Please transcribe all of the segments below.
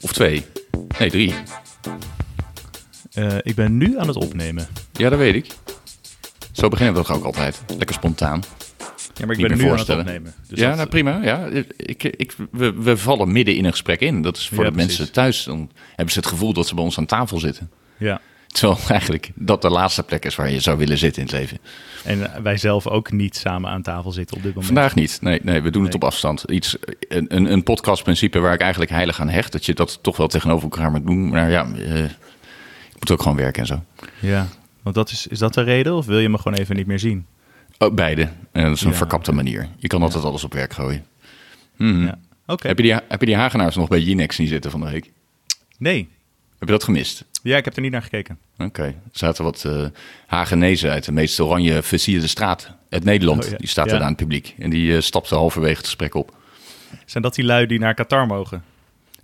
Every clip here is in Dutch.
Of twee. Nee, drie. Eh, ik ben nu aan het opnemen. Ja, dat weet ik. Zo beginnen we toch ook altijd. Lekker spontaan. Ja, maar ik Niet ben meer nu aan het voorstellen. opnemen. Dus ja, dat- nou prima. Ja, ik, ik, we, we vallen midden in een gesprek in. Dat is voor Ja, de precies. mensen thuis. Dan hebben ze het gevoel dat ze bij ons aan tafel zitten. Ja. Terwijl eigenlijk dat de laatste plek is waar je zou willen zitten in het leven. En eh, wij zelf ook niet samen aan tafel zitten op dit moment. Vandaag niet. Nee, nee we doen het Nee. op afstand. Iets, een, een, een podcastprincipe waar ik eigenlijk heilig aan hecht. Dat je dat toch wel tegenover elkaar moet doen. Maar ja, eh, ik moet ook gewoon werken en zo. Ja. Want dat is, is dat de reden of wil je me gewoon even niet meer zien? Oh, beide. En dat is een Ja. verkapte manier. Je kan altijd alles op werk gooien. Ja. Oké. Mhm. Heb, je die, heb je die Hagenaars nog bij Jinex zien zitten van de week? Nee. Heb je dat gemist? Ja, ik heb er niet naar gekeken. Oké. Er zaten wat eh Hagenezen uit de meest oranje versierde straat uit Nederland. Oh, ja. Die staat Ja. daar aan het publiek. En die eh, stapte halverwege het gesprek op. Zijn dat die lui die naar Qatar mogen?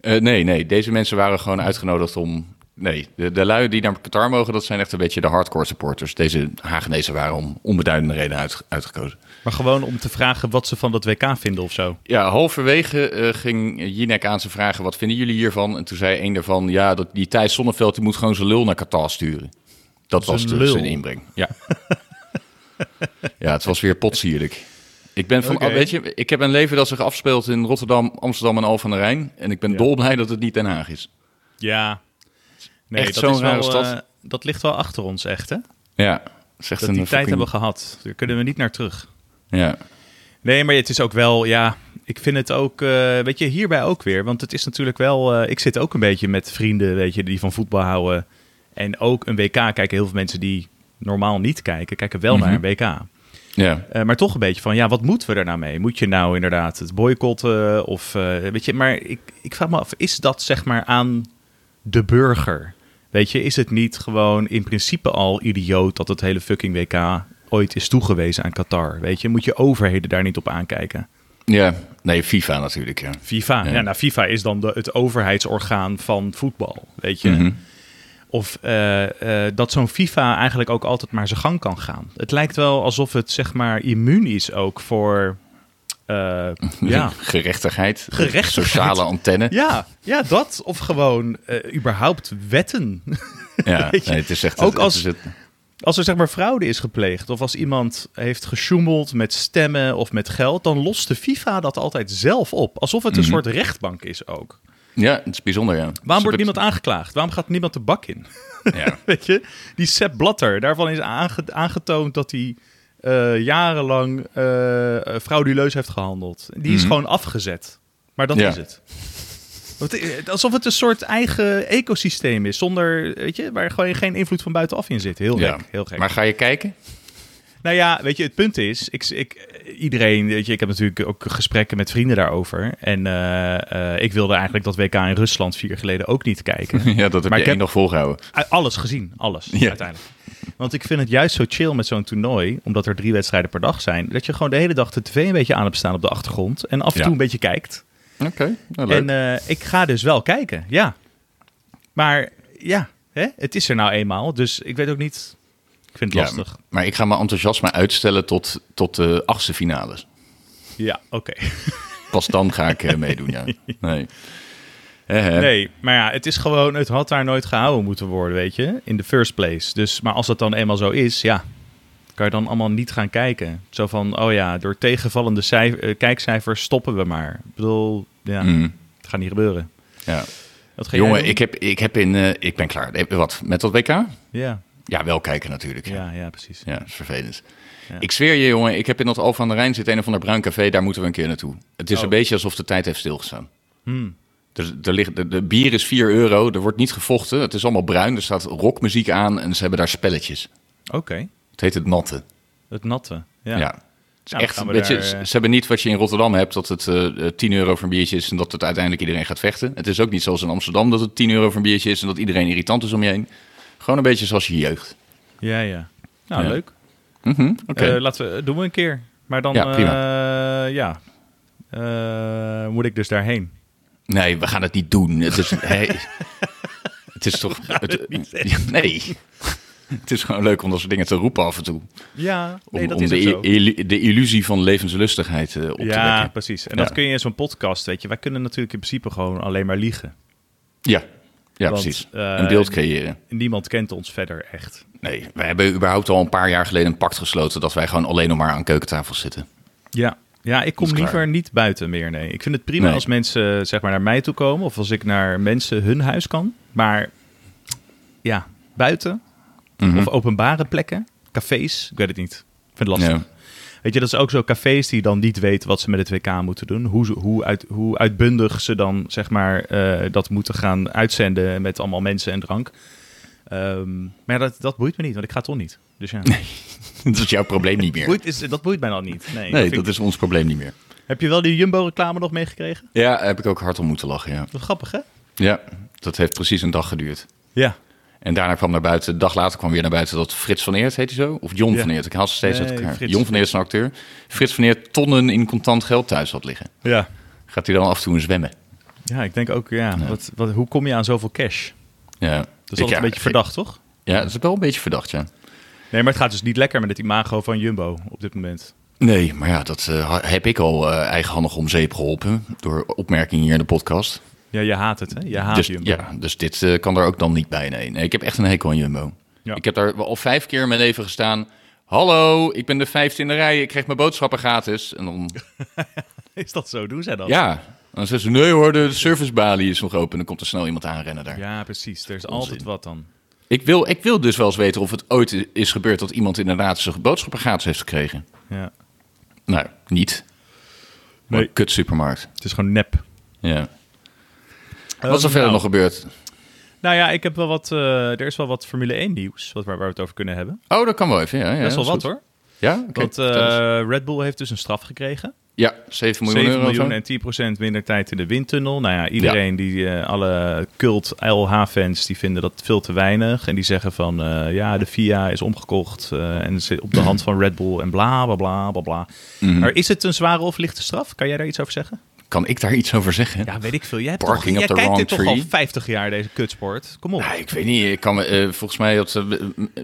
Eh, nee, nee. Deze mensen waren gewoon uitgenodigd om... Nee, de, de lui die naar Qatar mogen, dat zijn echt een beetje de hardcore supporters. Deze Hagenezen waren om onbeduidende reden uit, uitgekozen. Maar gewoon om te vragen wat ze van dat WK vinden of zo. Ja, halverwege eh, ging Jinek aan ze vragen: wat vinden jullie hiervan? En toen zei een daarvan: ja, dat, die Thijs Zonneveld die moet gewoon zijn lul naar Qatar sturen. Dat was Zijn de, lul. zijn inbreng. Ja. ja, het was weer potsierlijk. Ik ben van, Oké. ah, weet je, ik heb een leven dat zich afspeelt in Rotterdam, Amsterdam en Al van de Rijn. En ik ben dolblij dat het niet Den Haag is. Ja. Nee, Echt dat zo'n is wel, rare stad. eh, dat ligt wel achter ons echt, hè? Ja, zegt Dat een die tijd fucking- hebben we gehad. Daar kunnen we niet naar terug. Ja, Nee, maar het is ook wel, ja, ik vind het ook, eh, weet je, hierbij ook weer. Want het is natuurlijk wel, eh, ik zit ook een beetje met vrienden, weet je, die van voetbal houden. En ook een WK kijken heel veel mensen die normaal niet kijken, kijken wel naar een WK. ja. Eh, maar toch een beetje van, ja, wat moeten we er nou mee? Moet je nou inderdaad het boycotten? Of, eh, weet je, maar ik, ik vraag me af, is dat zeg maar aan de burger? Weet je, is het niet gewoon in principe al idioot dat het hele fucking WK ooit is toegewezen aan Qatar? Weet je, moet je overheden daar niet op aankijken? ja. Nee, FIFA natuurlijk. Ja. FIFA. Ja. Ja. nou, FIFA is dan de, het overheidsorgaan van voetbal, weet je. Of eh, eh, dat zo'n FIFA eigenlijk ook altijd maar zijn gang kan gaan. Het lijkt wel alsof het, zeg maar, immuun is ook voor... eh, ja. Gerechtigheid, Gerechtigheid. sociale antenne. Ja, ja, dat. Of gewoon eh, überhaupt wetten. Ja, Weet je, nee, het is echt ook het- het als- is het- Als er zeg maar fraude is gepleegd of als iemand heeft gesjoemeld met stemmen of met geld, dan lost de FIFA dat altijd zelf op. Alsof het een soort rechtbank is ook. ja, het is bijzonder. Ja. Waarom wordt Ze- niemand aangeklaagd? Waarom gaat niemand de bak in? Ja. Weet je, die Sepp Blatter, daarvan is aange- aangetoond dat hij eh, jarenlang eh, eh, frauduleus heeft gehandeld. Die is gewoon afgezet. Maar dat Mhm. Ja. is het. Want, eh, Alsof het een soort eigen ecosysteem is, zonder, weet je, waar gewoon geen invloed van buitenaf in zit. Heel Ja. gek, heel gek. Maar ga je kijken? Nou ja, weet je, het punt is, ik, ik, iedereen, weet je, ik heb natuurlijk ook gesprekken met vrienden daarover. En eh, eh, ik wilde eigenlijk dat WK in Rusland vier jaar geleden ook niet kijken. Ja, dat heb Maar je ik heb- één nog volgehouden. U- Eh, Alles gezien, alles Ja. uiteindelijk. Want ik vind het juist zo chill met zo'n toernooi, omdat er drie wedstrijden per dag zijn, dat je gewoon de hele dag de tv een beetje aan hebt staan op de achtergrond en af en Ja. toe een beetje kijkt. Oké, nou leuk. En eh, ik ga dus wel kijken, ja. Maar ja, hè, het is er nou eenmaal, dus ik weet ook niet. Ik vind het eh, Ja, lastig. maar ik ga mijn enthousiasme uitstellen tot, tot de achtste finales. Ja, oké. Pas dan ga ik eh, meedoen, ja. Nee. Hè, hè. Nee, maar ja, het is gewoon, het had daar nooit gehouden moeten worden, weet je, in the first place. Dus, maar als dat dan eenmaal zo is, ja, kan je dan allemaal niet gaan kijken. Zo van, oh ja, door tegenvallende cijf- eh, kijkcijfers stoppen we maar. Ik bedoel, ja, Mm, het gaat niet gebeuren. ja. Wat ga jij Jongen, doen? ik heb, ik heb in... eh, ik ben klaar. Eh, Wat, met dat WK? Ja, Ja, wel kijken natuurlijk. Ja, ja, ja, precies. ja dat is vervelend. Ja. Ik zweer je, jongen, ik heb in dat Alphen aan de Rijn zit een of ander bruin café. Daar moeten we een keer naartoe. Het is Oh. Hmm. een beetje alsof de tijd heeft stilgestaan. Er, er ligt, de, de bier is 4 euro, er wordt niet gevochten. Het is allemaal bruin, er staat rockmuziek aan en ze hebben daar spelletjes. Oké, Het heet het natte. het natte. Ja. Ja. ja. Het is Nou, echt, gaan een we beetje, daar, ze eh, ze hebben niet wat je in Rotterdam hebt, dat het eh, eh, 10 euro voor een biertje is en dat het uiteindelijk iedereen gaat vechten. Het is ook niet zoals in Amsterdam dat het 10 euro voor een biertje is en dat iedereen irritant is om je heen. Gewoon een beetje zoals je jeugd. ja, Nou, Ja. leuk. Mhm, Oké. Eh, laten we, doen we een keer. Maar dan, Ja, ja, ja. Eh, moet ik dus daarheen. nee, we gaan het niet doen. Het is, hey, het is toch... het- nee. het is gewoon leuk om dat soort dingen te roepen af en toe. Ja, Om, nee, dat om is de, ook zo. illu- de illusie van levenslustigheid eh, op te ja, wekken. precies. En Ja. dat kun je in zo'n podcast, weet je. Wij kunnen natuurlijk in principe gewoon alleen maar liegen. Ja, ja Want, precies. eh, een beeld creëren. Niemand kent ons verder echt. Nee, wij hebben überhaupt al een paar jaar geleden een pact gesloten... dat wij gewoon alleen nog maar aan keukentafels zitten. Ja, ja ik kom Dat is liever klaar. niet buiten meer, nee. Ik vind het prima Nee. als mensen zeg maar, naar mij toe komen... of als ik naar mensen hun huis kan. Maar ja, buiten of openbare plekken, cafés, ik weet het niet. Ik vind het lastig. Ja. Weet je, dat is ook zo cafés die dan niet weten wat ze met het WK moeten doen. Hoe, ze- hoe, uit, hoe uitbundig ze dan, zeg maar, eh, dat moeten gaan uitzenden met allemaal mensen en drank. Ehm, maar dat, dat boeit me niet, want ik ga toch niet. Dus ja, dat is jouw probleem niet meer. boeit is, dat boeit mij dan niet. Nee, dat Nee, vind dat ik- is ons probleem niet meer. Heb je wel die Jumbo-reclame nog meegekregen? Ja, heb ik ook hard om moeten lachen, ja. Dat is grappig, hè? Ja, dat heeft precies een dag geduurd. Ja. En daarna kwam naar buiten, een dag later kwam weer naar buiten dat Frits van Eert, heet hij zo? Of John Ja. van Eert, ik haal ze steeds uit Nee, elkaar. Frits. John van Eert is een acteur. Frits van Eert tonnen in contant geld thuis had liggen. Ja. Gaat hij dan af en toe in zwemmen? Ja, ik denk ook, ja. Wat, wat, hoe kom je aan zoveel cash? Ja. Ik- Dat is altijd ja, een beetje verdacht, toch? Ja, dat is wel een beetje verdacht, ja. Nee, maar het gaat dus niet lekker met het imago van Jumbo op dit moment. Nee, maar ja, dat eh, ha- heb ik al eh, eigenhandig om zeep geholpen. Door opmerkingen hier in de podcast. Ja, je haat het, hè? Je haat Dus, Jumbo. ja, dus dit eh, kan er ook dan niet bij. Nee, nee ik heb echt een hekel aan Jumbo. Ja. Ik heb daar al vijf keer in mijn leven gestaan. Hallo, ik ben de vijfde in de rij. Ik krijg mijn boodschappen gratis. En dan, Is dat zo? Doen zij dat? ja, dan zeggen ze, nee hoor, de servicebalie is nog open. En dan komt er snel iemand aanrennen daar. Ja, precies. Er is altijd wat dan. Ik, wil, ik wil dus wel eens weten of het ooit i- is gebeurd... dat iemand inderdaad zijn boodschappen gratis heeft gekregen. Ja. Nou, niet. Maar Nee. kut supermarkt. Het is gewoon nep. Ja. Eh, Wat is er verder nog gebeurd? Nou ja, ik heb wel wat, eh, er is wel wat Formule 1 nieuws wat, waar, waar we het over kunnen hebben. Oh, dat kan wel even. Ja, ja, Best wel dat wat is goed. hoor. Ja, Oké, Want eh, vertel eens. Red Bull heeft dus een straf gekregen. ja 7 miljoen 7 euro. of zo. miljoen en 10% minder tijd in de windtunnel. Nou ja, iedereen die, eh, alle cult LH-fans, die vinden dat veel te weinig. En die zeggen van, eh, ja, de FIA is omgekocht eh, en zit op de Mhm. hand van Red Bull en bla, bla, bla, bla, bla. Maar is het een zware of lichte straf? Kan jij daar iets over zeggen? Kan ik daar iets over zeggen? Ja, weet ik veel. Jij, hebt Parking toch, jij up the kijkt wrong dit toch al tree. 50 jaar, deze kutsport. Kom op. Nou, ik weet niet. Ik kan, me, eh, volgens mij dat eh,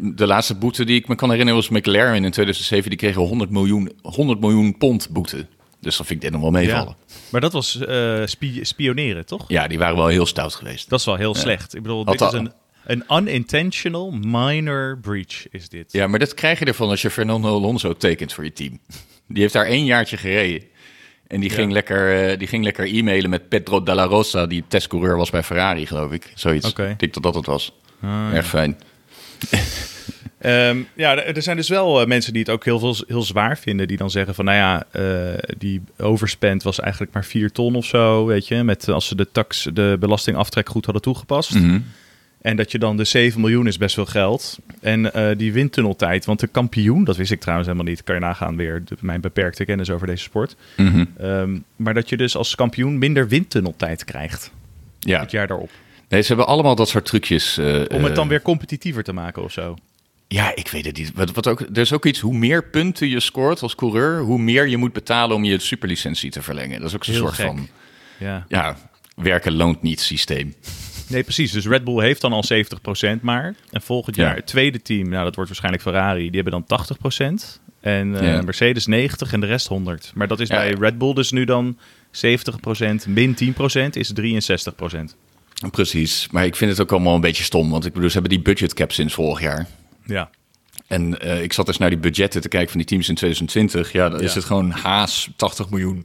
de laatste boete die ik me kan herinneren was McLaren in 2007. Die kregen 100 miljoen, 100 miljoen pond boete. Dus dan vind ik dit nog wel meevallen. Ja. Maar dat was eh, spie- spioneren, toch? die waren wel heel stout geweest. Dat is wel heel slecht. Ik bedoel, Had dit is dat- een, een unintentional minor breach, is dit. Ja, maar dat krijg je ervan als je Fernando Alonso tekent voor je team. Die heeft daar één jaartje gereden. En die, ging, lekker, eh, die ging lekker e-mailen met Pedro Dalla Rosa, die testcoureur was bij Ferrari, geloof ik. Zoiets. Oké. Ah, Ik denk dat dat het was. Erg fijn. Ehm, ja, er er zijn dus wel eh, mensen die het ook heel, veel, heel zwaar vinden. Die dan zeggen van, nou ja, eh, die overspend was eigenlijk maar 4 ton of zo, weet je. Met, eh, als ze de, tax, de belastingaftrek goed hadden toegepast. Mhm. En dat je dan de 7 miljoen is best veel geld. En eh, die windtunneltijd, want de kampioen, dat wist ik trouwens helemaal niet. Kan je nagaan weer de- mijn beperkte kennis over deze sport. Mhm. Ehm, maar dat je dus als kampioen minder windtunneltijd krijgt Ja. het jaar daarop. Nee, ze hebben allemaal dat soort trucjes. eh, Om het eh, dan weer competitiever te maken of zo. Ja, ik weet het niet. Wat, wat ook, er is ook iets, hoe meer punten je scoort als coureur, hoe meer je moet betalen om je superlicentie te verlengen. Dat is ook zo'n Heel soort gek. van, Ja. ja, werken loont niet systeem. Nee, precies. Dus Red Bull heeft dan al 70% maar. En volgend Ja. jaar het tweede team, nou dat wordt waarschijnlijk Ferrari, die hebben dan 80%. En eh, Ja. Mercedes 90 en de rest 100. Maar dat is Ja. bij Red Bull dus nu dan 70% min 10% is 63%. Precies, maar ik vind het ook allemaal een beetje stom, want ik bedoel, ze hebben die budget cap sinds vorig jaar. Ja. En eh, ik zat dus naar die budgetten te kijken van die teams in 2020. Ja, dan Ja. is het gewoon Haas 80 miljoen.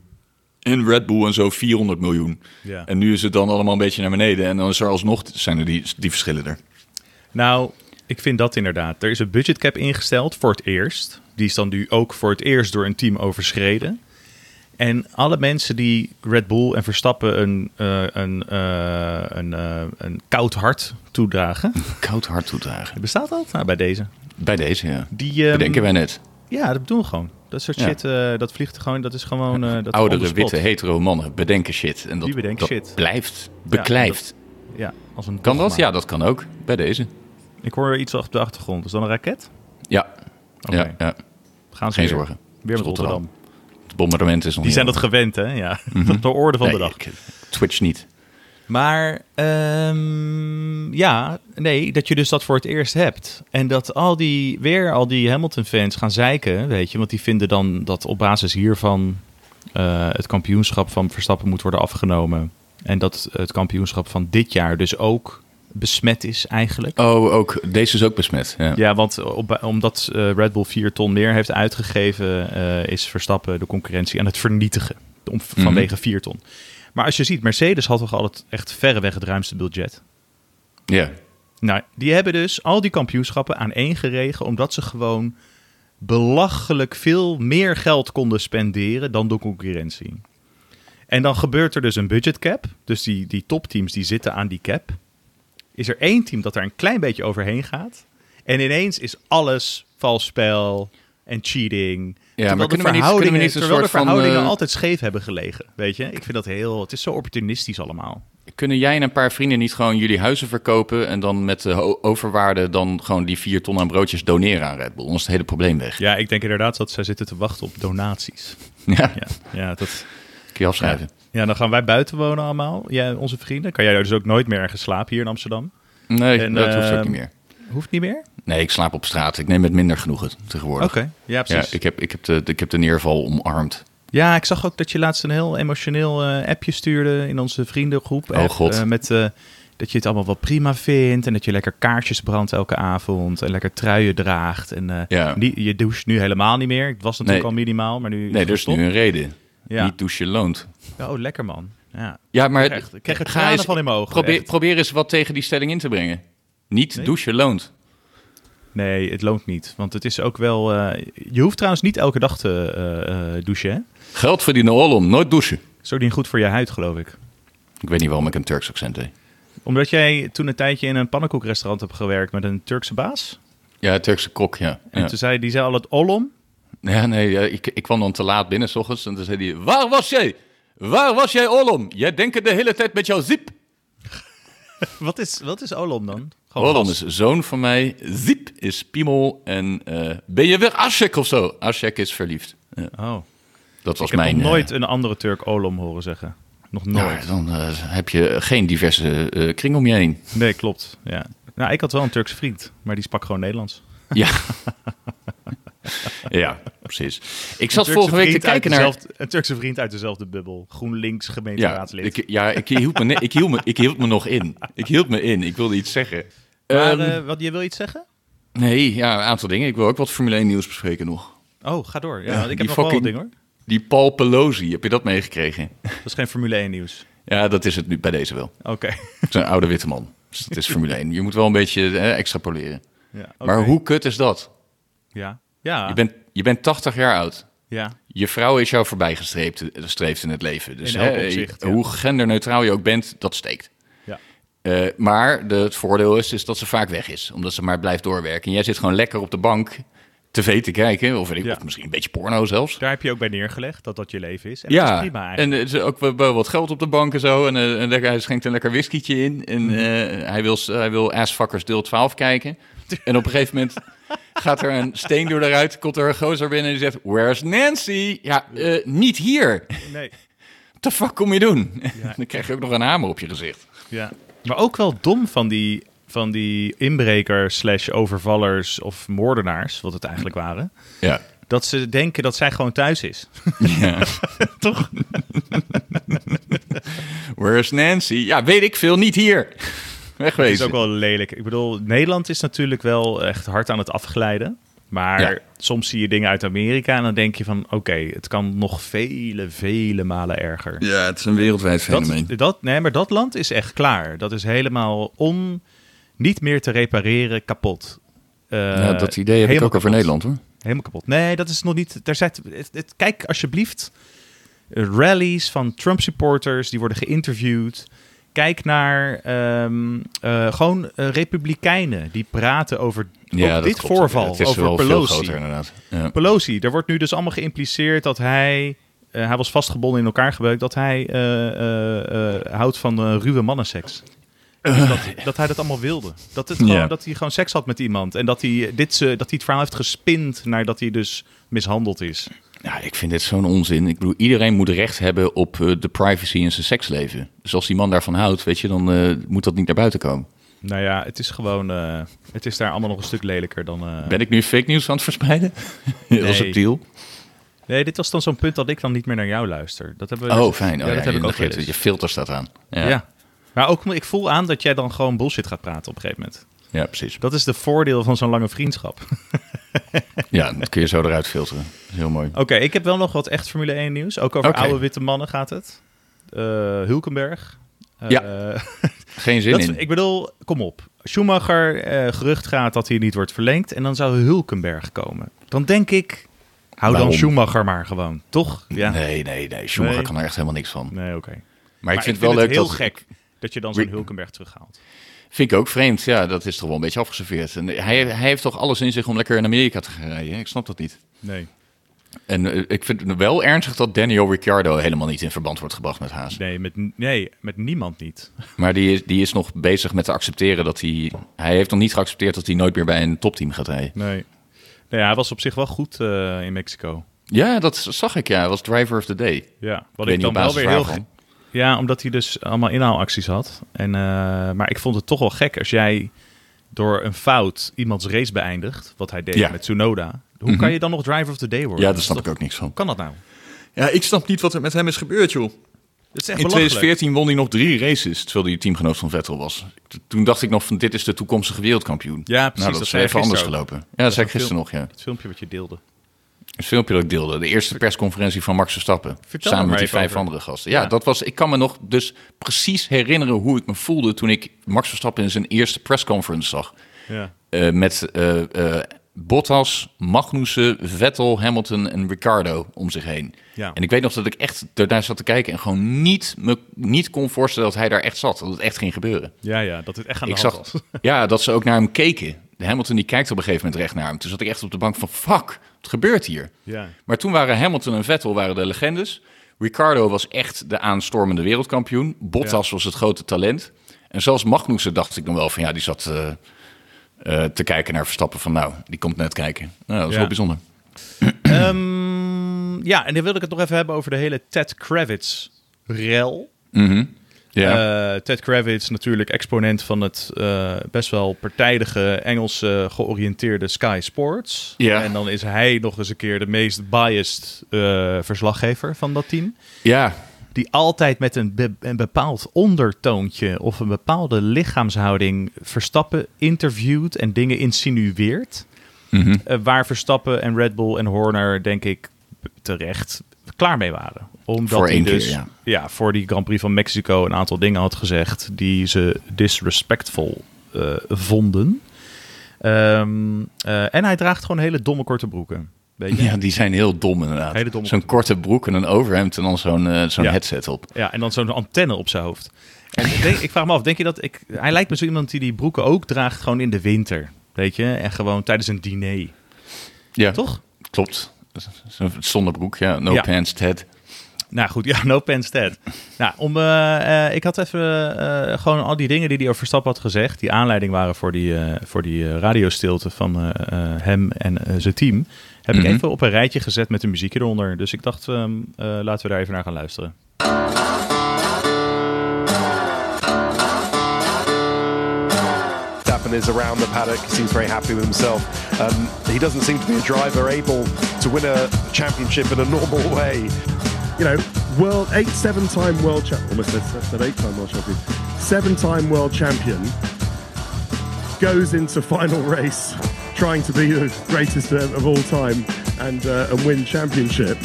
En Red Bull en zo 400 miljoen. Ja. En nu is het dan allemaal een beetje naar beneden. En dan is er alsnog, zijn er die, die verschillen er. Nou, ik vind dat inderdaad. Er is een budgetcap ingesteld voor het eerst. Die is dan nu ook voor het eerst door een team overschreden. En alle mensen die Red Bull en Verstappen een, eh, een, eh, een, eh, een koud hart toedragen. Koud hart toedragen. Bestaat dat? Nou, bij deze. Bij deze, ja. Die, ehm, Bedenken wij net. Ja, dat doen we gewoon. Dat soort Ja. shit, eh, dat vliegt er gewoon, dat is gewoon... eh dat on Oudere, the spot. witte, hetero mannen bedenken shit. En dat, Die bedenken dat shit. blijft, beklijft. Ja, als een kan dat? dogma. Ja, dat kan ook. Bij deze. Ik hoor iets op de achtergrond. Is dat een raket? Ja. Oké. Ja, ja. Gaan ze Geen weer. zorgen. Weer met Rotterdam. Rotterdam. Het bombardement is nog Die niet zijn dat over. gewend, hè? Ja, de orde van de Mhm. Nee, dag. ik- Twitch niet. Maar ehm, ja, nee, dat je dus dat voor het eerst hebt. En dat al die, weer al die Hamilton-fans gaan zeiken, weet je. Want die vinden dan dat op basis hiervan eh, het kampioenschap van Verstappen moet worden afgenomen. En dat het kampioenschap van dit jaar dus ook besmet is eigenlijk. Oh, ook deze is ook besmet. Ja. Ja, want op, omdat eh, Red Bull 4 ton meer heeft uitgegeven, eh, is Verstappen de concurrentie aan het vernietigen. Om, Vanwege 4 ton. Maar als je ziet, Mercedes had toch altijd echt verreweg het ruimste budget. Ja. Nou, die hebben dus al die kampioenschappen aan één geregen, omdat ze gewoon belachelijk veel meer geld konden spenderen dan de concurrentie. En dan gebeurt er dus een budget cap. Dus die, die topteams die zitten aan die cap. Is er één team dat daar een klein beetje overheen gaat. En ineens is alles vals spel en cheating. terwijl maar kunnen we de niet- verhoudingen- kunnen we niet een terwijl de soort van, verhoudingen eh, altijd scheef hebben gelegen. Weet je, ik vind dat heel... Het is zo opportunistisch allemaal. Kunnen jij en een paar vrienden niet gewoon jullie huizen verkopen en dan met de ho- overwaarde dan gewoon die vier ton aan broodjes doneren aan Red Bull? Dan is het hele probleem weg. Ja, ik denk inderdaad dat zij zitten te wachten op donaties. Ja, Ja, ja dat... kun je afschrijven. Ja, dan gaan wij buiten wonen allemaal, jij en onze vrienden. Kan jij dus ook nooit meer ergens slapen hier in Amsterdam? Nee, En, dat hoeft ook ehm, niet meer. Hoeft niet meer? Nee, ik slaap op straat. Ik neem het minder genoegen Oké, tegenwoordig. ja Ja, precies. Ja ik ik... heb, ik, heb de, ik heb de neerval omarmd. zag ook dat je laatst een heel emotioneel eh, appje stuurde in onze vriendengroep. Oh, App, God. eh, met, eh, dat je het allemaal wel prima vindt en dat je lekker kaarsjes brandt elke avond en lekker truien draagt. En eh, Ja. niet- je doucht nu helemaal niet meer. Het was natuurlijk Nee. al minimaal, maar nu... Nee, er is gestopt. nu een reden. Ja. Niet douchen loont. Oh, lekker man. Ja. Ja, maar Echt, ik krijg er ga tranen eens- van in mijn ogen, Probeer, echt. probeer eens wat tegen die stelling in te brengen. Niet Nee? douchen loont. Nee, het loont niet. Want het is ook wel... eh, je hoeft trouwens niet elke dag te eh, eh, douchen, hè? Geld verdienen om nooit douchen. Is ook niet goed voor je huid, geloof ik. Ik weet niet waarom ik een Turks accent deed. Omdat jij toen een tijdje in een pannenkoekrestaurant hebt gewerkt met een Turkse baas. Ja, Turkse kok, ja. En Ja, toen zei die zei al het olom. Ja, nee, ja, ik, ik kwam dan te laat binnen s ochtends en toen zei hij... Waar was jij? Waar was jij, Olom? Jij denkt de hele tijd met jouw zip. Wat is, wat is olom dan? Gewoon Olom gas. is zoon van mij, zip is piemel en eh, ben je weer Ashek of zo? Ashek is verliefd. Ja, Oh. dat was Ik heb mijn... nog eh, nooit een andere Turk olom horen zeggen. Nog nou, nooit. dan eh, heb je geen diverse eh, kring om je heen. Nee, klopt. Ja. Nou, ik had wel een Turkse vriend, maar die sprak gewoon Nederlands. Ja. ja, precies. Ik zat Turkse vorige week te vriend uit kijken naar... dezelfde- Een Turkse vriend uit dezelfde bubbel. GroenLinks Ja, gemeenteraadslid. ik, ja ik, hield me, ne- ik, hield me, ik hield me nog in. Ik hield me in. Ik wilde iets zeggen. Ehm, maar eh, wat, je wil iets zeggen? nee, ja, een aantal dingen. Ik wil ook wat Formule 1 nieuws bespreken nog. Oh, ga door. Ja, Ja, want ik heb die nog wel wat fucking- dingen hoor. Die Paul Pelosi, heb je dat meegekregen? Dat is geen Formule 1 nieuws. Ja, dat is het nu bij deze wel. Oké. Het is een oude witte man. Dus het is Formule 1. Je moet wel een beetje eh, extrapoleren. Ja, oké. Maar hoe kut is dat? Ja. Ja. Je, bent, je bent 80 jaar oud. ja. Je vrouw is jou voorbij gestreept, gestreefd in het leven. Dus In elk hè, opzicht, je- ja. hoe genderneutraal je ook bent, dat steekt. Ja. Eh, maar de, het voordeel is, is dat ze vaak weg is, omdat ze maar blijft doorwerken. En jij zit gewoon lekker op de bank tv te kijken, of, weet ik, Ja. of misschien een beetje porno zelfs. Daar heb je ook bij neergelegd dat dat je leven is. En dat is Ja, prima eigenlijk. en eh, ze ook wel- wel wat geld op de bank en zo. En, eh, en lekker, hij schenkt een lekker whiskietje in. En Mhm. eh, hij, wil, s- hij wil Assfuckers deel 12 kijken. En op een gegeven moment gaat er een steen door de ruit, komt er een gozer binnen en die zegt... Where's Nancy? Ja, eh, niet hier. Nee. What the fuck kom je doen? Ja. Dan krijg je ook nog een hamer op je gezicht. Ja. Maar ook wel dom van die, van die inbrekers slash overvallers of moordenaars, wat het eigenlijk waren. Ja. Dat ze denken dat zij gewoon thuis is. Toch? Where's Nancy? Ja, weet ik veel, niet hier. Dat is Wegwezen. ook wel lelijk. Ik bedoel, Nederland is natuurlijk wel echt hard aan het afglijden. Maar Ja. soms zie je dingen uit Amerika en dan denk je van... oké, het kan nog vele, vele malen erger. Ja, het is een wereldwijd Dat, dat, nee, maar dat land is echt klaar. Dat is helemaal on, niet meer te repareren, kapot. Eh, ja, dat idee heb ik ook helemaal over kapot. Nederland, hoor. Helemaal kapot. Nee, dat is nog niet. Daar zit, het, het- kijk alsjeblieft eh, rallies van Trump supporters die worden geïnterviewd. Kijk naar ehm, eh, gewoon eh, republikeinen die praten over ook dit klopt. voorval. Het is over wel Pelosi. veel groter, inderdaad. Ja. Pelosi, er wordt nu dus allemaal geïmpliceerd dat hij. eh, hij was vastgebonden in elkaar gebeukt dat hij eh, eh, eh, houdt van eh, ruwe mannenseks. Dus dat, dat hij dat allemaal wilde. Dat, het gewoon, Eh. Ja. dat hij gewoon eh, seks had met iemand. En dat hij, dit, ze dat hij het verhaal heeft gespind naar dat hij dus mishandeld is. Nou, ik vind dit zo'n onzin. Ik bedoel, iedereen moet recht hebben op eh, de privacy in zijn seksleven. Dus als die man daarvan houdt, weet je, dan eh, moet dat niet naar buiten komen. Nou ja, het is gewoon... eh, het is daar allemaal nog een stuk lelijker dan... eh, Ben ik nu fake nieuws aan het verspreiden? Heel Nee. subtiel. Nee, dit was dan zo'n punt dat ik dan niet meer naar jou luister. Dat hebben we Oh, fijn. Oh, ja, ja, dat heb je- ik ook je- wel eens. Je filter staat aan. Ja. Ja, ja. Maar ook, ik voel aan dat jij dan gewoon bullshit gaat praten op een gegeven moment. precies. Dat is de voordeel van zo'n lange vriendschap. Ja, dat kun je zo eruit filteren. Dat is heel mooi. Oké, ik heb wel nog wat echt Formule 1 nieuws. Ook over Oké. oude witte mannen gaat het. Eh, Hulkenberg. Eh, Ja, Geen zin dat, in. ik bedoel, kom op. Schumacher, eh, gerucht gaat dat hij niet wordt verlengd. En dan zou Hulkenberg komen. Dan denk ik, hou Waarom? dan Schumacher maar gewoon. Toch? Ja. Nee, nee, nee. Schumacher Nee. kan er echt helemaal niks van. Maar, Nee, oké. ik vind het wel leuk heel dat... gek dat je dan zo'n Re- Hulkenberg terughaalt. Vind ik ook vreemd. Ja, dat is toch wel een beetje afgeserveerd. En hij, hij heeft toch alles in zich om lekker in Amerika te gaan rijden. Ik snap dat niet. Nee. En eh, ik vind het wel ernstig dat Daniel Ricciardo helemaal niet in verband wordt gebracht met Haas. Nee, met, nee, met niemand niet. Maar die is, die is nog bezig met te accepteren dat hij... Hij heeft nog niet geaccepteerd dat hij nooit meer bij een topteam gaat rijden. Nee. Nee, hij was op zich wel goed eh, in Mexico. Ja, dat zag ik ja. Hij was driver of the day. Ja, wat weet ik niet dan op wel basis weer heel... waarvan. ge- Ja, omdat hij dus allemaal inhaalacties had. En, eh, maar ik vond het toch wel gek als jij door een fout iemands race beëindigt, wat hij deed Ja. Mhm. met Tsunoda. Hoe kan je dan nog driver of the day worden? Ja, daar Dat is snap ik toch- ook niks van. Hoe kan dat nou? Ja, ik snap niet wat er met hem is gebeurd, joh. Dat is echt In belachelijk. 2014 won hij nog drie races, terwijl hij teamgenoot van Vettel was. T- Toen dacht ik nog van dit is de toekomstige wereldkampioen. Ja, precies, Nou, dat dat, is zei even hij anders gisteren gelopen. Ja, dat zei ik een gisteren nog, ja. Het filmpje wat je deelde. Het filmpje dat ik deelde, de eerste persconferentie van Max Verstappen. Vertel er samen maar met die even vijf over. andere gasten. Ja, Ja. dat was, ik kan me nog dus precies herinneren hoe ik me voelde toen ik Max Verstappen in zijn eerste pressconference zag. Ja. Eh, met eh, eh, Bottas, Magnussen, Vettel, Hamilton en Ricardo om zich heen. Ja. En ik weet nog dat ik echt daarnaar zat te kijken en gewoon niet, me, niet kon voorstellen dat hij daar echt zat. Dat het echt ging gebeuren. Ja, ja, dat het echt aan de Ik hand zag was. ja, dat ze ook naar hem keken. De Hamilton die kijkt op een gegeven moment recht naar hem. Toen zat ik echt op de bank van fuck, wat gebeurt hier? Ja. Maar toen waren Hamilton en Vettel waren de legendes. Ricardo was echt de aanstormende wereldkampioen. Bottas was het grote talent. En zelfs Magnussen dacht ik nog wel van ja, die zat eh, eh, te kijken naar Verstappen van nou, die komt net kijken. Nou, dat is Ja. wel bijzonder. Ehm, ja, en dan wilde ik het nog even hebben over de hele Ted Kravitz rel. Ja. Eh, Ted Kravitz, natuurlijk exponent van het eh, best wel partijdige Engelse georiënteerde Sky Sports. Ja. En dan is hij nog eens een keer de meest biased eh, verslaggever van dat team. ja. Die altijd met een, be- een bepaald ondertoontje of een bepaalde lichaamshouding Verstappen interviewt en dingen insinueert. Mhm. Eh, waar Verstappen en Red Bull en Horner, denk ik, terecht klaar mee waren. Omdat Voor hij één keer, dus ja. voor die Grand Prix van Mexico een aantal dingen had gezegd die ze disrespectful eh, vonden. Ehm, eh, en hij draagt gewoon hele domme korte broeken. Weet je? ja, die zijn heel dom inderdaad. Hele domme Zo'n korte broek en een overhemd en dan zo'n eh, zo'n Ja. headset op. Ja, en dan zo'n antenne op zijn hoofd. En ik denk, ik vraag me af, denk je dat ik. Hij lijkt me zo iemand die die broeken ook draagt gewoon in de winter. Weet je? En gewoon tijdens een diner. Ja. Toch? Klopt. Zo'n Zonnebroek, ja. No Ja. pants, Ted. Nou goed, ja, no pants dead. Nou, om, eh, eh, ik had even eh, gewoon al die dingen die hij over Verstappen had gezegd... die aanleiding waren voor die, eh, voor die eh, radiostilte van eh, eh, hem en eh, zijn team... heb ik even op een rijtje gezet met de muziek eronder. Dus ik dacht, ehm, eh, laten we daar even naar gaan luisteren. Verstappen is around the paddock. He seems very happy with himself. Um, he doesn't seem to be a driver able to win a championship in a normal way. you know, world eight, seven-time world champ. Almost said, said eight-time world champion. Seven-time world champion goes into final race trying to be the greatest of, of all time and uh, and win championship.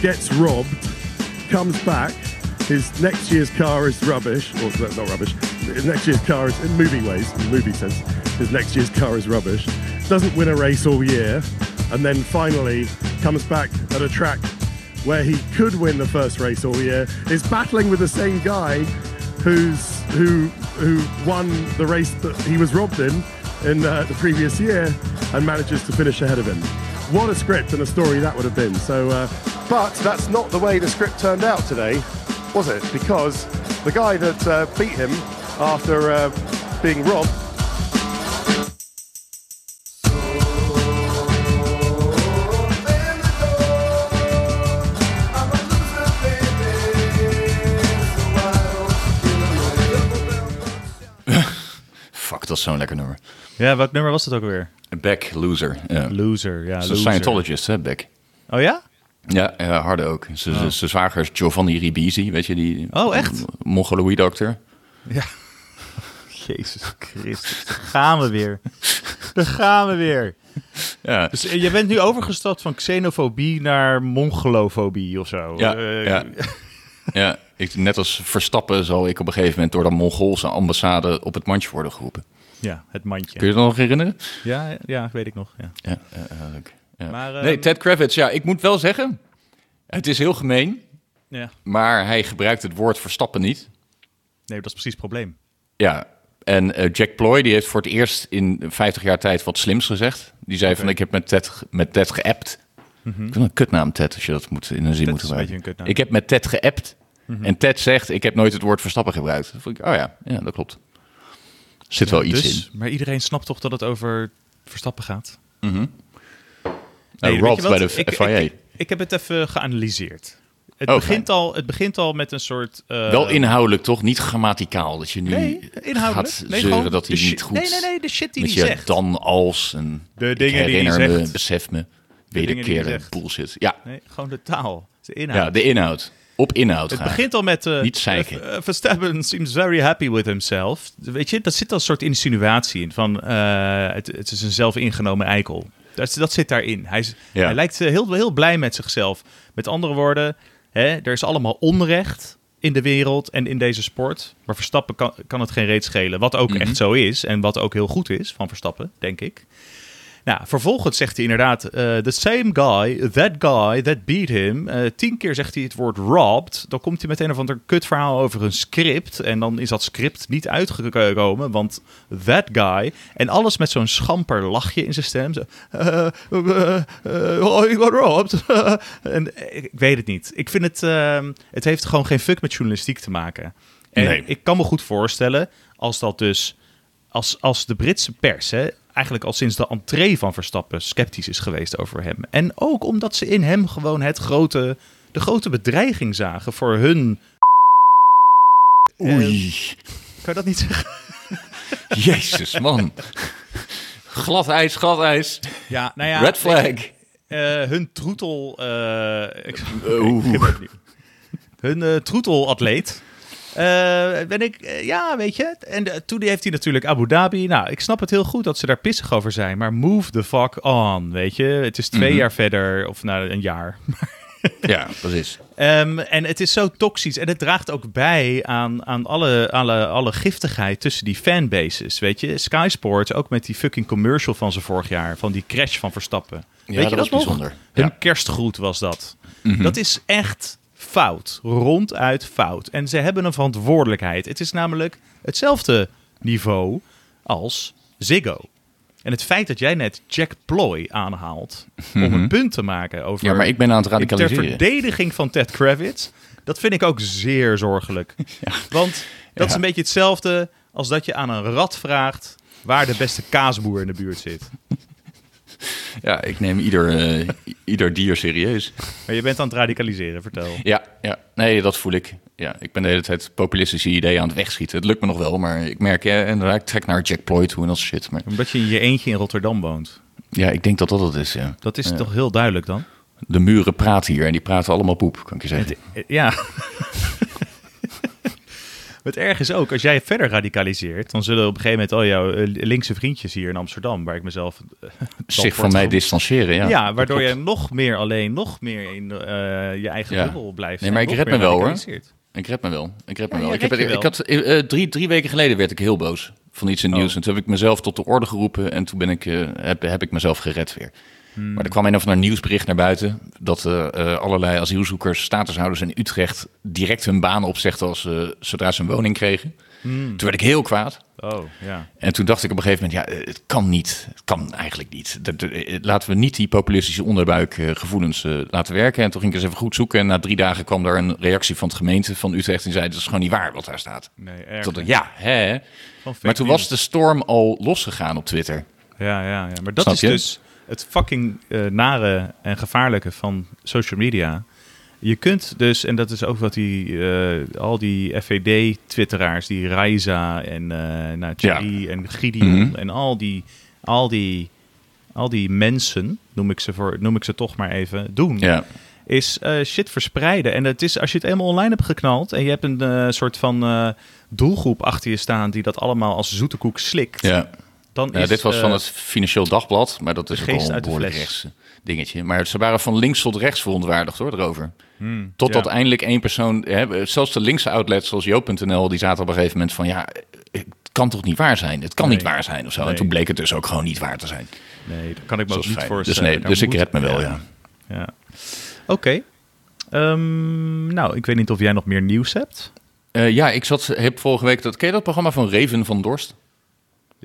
Gets robbed, comes back. His next year's car is rubbish, or no, not rubbish. His next year's car is in movie ways, in movie sense. His next year's car is rubbish. Doesn't win a race all year, and then finally comes back at a track where he could win the first race all year. Is battling with the same guy who's who who won the race that he was robbed in in uh, the previous year and manages to finish ahead of him. What a script and a story that would have been. So, uh, But that's not the way the script turned out today, was it? Because the guy that uh, beat him after uh, being robbed dat is zo'n lekker nummer. Ja, welk nummer was dat ook weer? Beck, Loser. Ja. Loser, ja. Ze Loser. is Scientologist, hè, Beck. Oh ja? Ja, ja, harde ook. Zijn zijn- zijn zwager is Giovanni Ribisi, weet je, die Oh, echt? Mongoloïd-acteur. Ja. Jezus Christus, daar gaan we weer. Daar gaan we weer. Ja. Dus eh, je bent nu overgestapt van xenofobie naar mongolofobie of zo. Ja, Eh, ja. ja ik, net als Verstappen zal ik op een gegeven moment door de Mongoolse ambassade op het mandje worden geroepen. ja, het mandje. Kun je dat nog herinneren? Ja, ja, weet ik nog. Ja. Ja, eh, eh, leuk. Ja. Maar, eh, nee, Ted Kravitz, ja, ik moet wel zeggen, het is heel gemeen, ja. maar hij gebruikt het woord Verstappen niet. Nee, dat is precies het probleem. Ja, en eh, Jack Ploy die heeft voor het eerst in 50 jaar tijd wat slims gezegd. Die zei van, ik heb met Ted, ge- met Ted geappt. Ik vind een kutnaam Ted, als je dat moet, in een zin Mhm. Ted moet is een beetje gebruiken. een kutnaam. Mhm. ik heb met Ted geappt. En Ted zegt, ik heb nooit het woord Verstappen gebruikt. Dan vond ik, oh ja, ja dat klopt. Zit wel Oh, iets in. Dus, maar iedereen snapt toch dat het over Verstappen gaat? Nou, weet je robbed wat? bij de ik, FIA. Ik, ik heb het even geanalyseerd. Het, Oh, begint, al, het begint al met een soort... eh, wel inhoudelijk toch? Niet grammaticaal. Dat je nu Nee, inhoudelijk. gaat Nee, zeuren gewoon dat hij de niet shi- goed... nee, nee, nee, de shit die met hij je zegt. dan als en... De ik dingen die hij herinner me, zegt. besef me, die hij wederkeren, zegt. bullshit. Ja, Nee, gewoon de taal. De inhoud. ja, de inhoud. Op inhoud Het gaan. begint al met... eh, Niet zeiken. eh, Verstappen seems very happy with himself. Weet je, daar zit al een soort insinuatie in. Van, eh, het, het is een zelfingenomen eikel. Dat, dat zit daarin. Hij, is, Ja. hij lijkt eh, heel, heel blij met zichzelf. Met andere woorden, hè, er is allemaal onrecht in de wereld en in deze sport. Maar Verstappen kan, kan het geen reet schelen. Wat Mhm. ook echt zo is en wat ook heel goed is van Verstappen, denk ik. Nou, vervolgens zegt hij inderdaad, eh, the same guy, that guy, that beat him. Eh, tien keer zegt hij het woord robbed. Dan komt hij met een of ander kutverhaal over een script. En dan is dat script niet uitgekomen, want that guy. En alles met zo'n schamper lachje in zijn stem. Zo, eh, eh, eh, oh, you got robbed. en, eh, ik weet het niet. Ik vind het, ehm, het heeft gewoon geen fuck met journalistiek te maken. En Nee. ik kan me goed voorstellen, als dat dus als, als de Britse pers hè, eigenlijk al sinds de entree van Verstappen sceptisch is geweest over hem. En ook omdat ze in hem gewoon het grote, de grote bedreiging zagen voor hun. Eh, Oei, Kan je dat niet zeggen? jezus man. glad ijs, glad ijs. Ja, nou ja. Red flag. eh, hun troetel. eh, ik, Oeh. ik heb het niet. hun eh, troetelatleet. Eh, ben ik, eh, ja, weet je. En eh, toen heeft hij natuurlijk Abu Dhabi. Nou, ik snap het heel goed dat ze daar pissig over zijn. Maar move the fuck on, weet je. Het is twee jaar verder, of nou, een jaar. Ja, precies. Ehm, en het is zo toxisch. En het draagt ook bij aan, aan alle, alle, alle giftigheid tussen die fanbases. Weet je, Sky Sports, ook met die fucking commercial van ze vorig jaar. Van die crash van Verstappen. weet je dat was nog? bijzonder. Hun Ja. Mhm. kerstgroet was dat. Dat is echt fout. Ronduit fout. En ze hebben een verantwoordelijkheid. Het is namelijk hetzelfde niveau als Ziggo. En het feit dat jij net Jack Ploy aanhaalt om een punt te maken over Mhm. Ja, maar ik ben aan het ter radicaliseren. verdediging van Ted Kravitz. Dat vind ik ook zeer zorgelijk. Want dat is Ja. een beetje hetzelfde als dat je aan een rat vraagt waar de beste kaasboer in de buurt zit. Ja, ik neem ieder, eh, i- ieder dier serieus. Maar je bent aan het radicaliseren, vertel. Ja, ja, nee, dat voel ik. Ja, ik ben de hele tijd populistische ideeën aan het wegschieten. Het lukt me nog wel, maar ik merk, ja, inderdaad, ik trek naar Jack Ploy toe en dat soort shit. Maar Omdat je in je eentje in Rotterdam woont. ja, ik denk dat dat het is, ja. Dat is toch heel duidelijk dan? De muren praten hier en die praten allemaal poep, kan ik je zeggen. Eh, Ja. Het erg is ook, als jij verder radicaliseert, dan zullen op een gegeven moment al jouw eh, linkse vriendjes hier in Amsterdam, waar ik mezelf... eh, dan Zich van voortge- mij distancieren, ja. Ja, waardoor je je nog meer alleen, nog meer in eh, je eigen Ja. bubbel blijft. Nee, maar en ik nog red me meer wel, hoor. radicaliseert. Ik red me wel. Ik red me Ja, wel. je Ik, heb, redt je het- ik had, eh, eh, drie, drie weken geleden werd ik heel boos van iets in Oh. het nieuws. En toen heb ik mezelf tot de orde geroepen en toen ben ik, eh, heb, heb ik mezelf gered weer. Hmm. Maar er kwam een of ander nieuwsbericht naar buiten dat eh, eh, allerlei asielzoekers, statushouders in Utrecht direct hun baan opzegden als, ze zodra ze een woning kregen. Hmm. Toen werd ik heel kwaad. Oh, ja. En toen dacht ik op een gegeven moment, ja, eh, het kan niet. Het kan eigenlijk niet. Dat- dat- eh, Laten we niet die populistische onderbuikgevoelens eh, laten werken. En toen ging ik eens even goed zoeken. En na drie dagen kwam daar een reactie van het gemeente van Utrecht. Die zei, dat is gewoon niet waar wat daar staat. Nee, Toen dacht erg. ik, ja, hè. Van fake Maar toen news. was de storm al losgegaan op Twitter. Ja, ja, ja. Maar dat Snap is je? dus het fucking eh, nare en gevaarlijke van social media. Je kunt dus, en dat is ook wat die, eh, al die FVD-twitteraars, die Raiza en eh nou, Thierry en Gideon Mhm. en al die, al, die, al die mensen, noem ik ze, voor, noem ik ze toch maar even, doen. Ja. Is eh, shit verspreiden. En het is, als je het eenmaal online hebt geknald en je hebt een eh, soort van eh, doelgroep achter je staan die dat allemaal als zoete koek slikt. Ja. Dan Ja, is, dit was eh, van het Financieel Dagblad, maar dat is ook geest al een uit de behoorlijk fles. rechts eh, dingetje. Maar ze waren van links tot rechts verontwaardigd hoor, erover. Totdat Hmm, ja. eindelijk één persoon, hè, zelfs de linkse outlets zoals Joop.nl, die zaten op een gegeven moment van ja, eh, het kan toch niet waar zijn? Het kan Nee. niet waar zijn of zo. Nee. En toen bleek het dus ook gewoon niet waar te zijn. Nee, dat kan ik me Dat ook is niet fijn. Dus voorstellen. nee, Daar dus ik moet- red me wel, ja. ja. Oké. Ehm, nou, ik weet niet of jij nog meer nieuws hebt. Eh, ja, ik zat, heb vorige week dat, ken je dat programma van Raven van Dorst?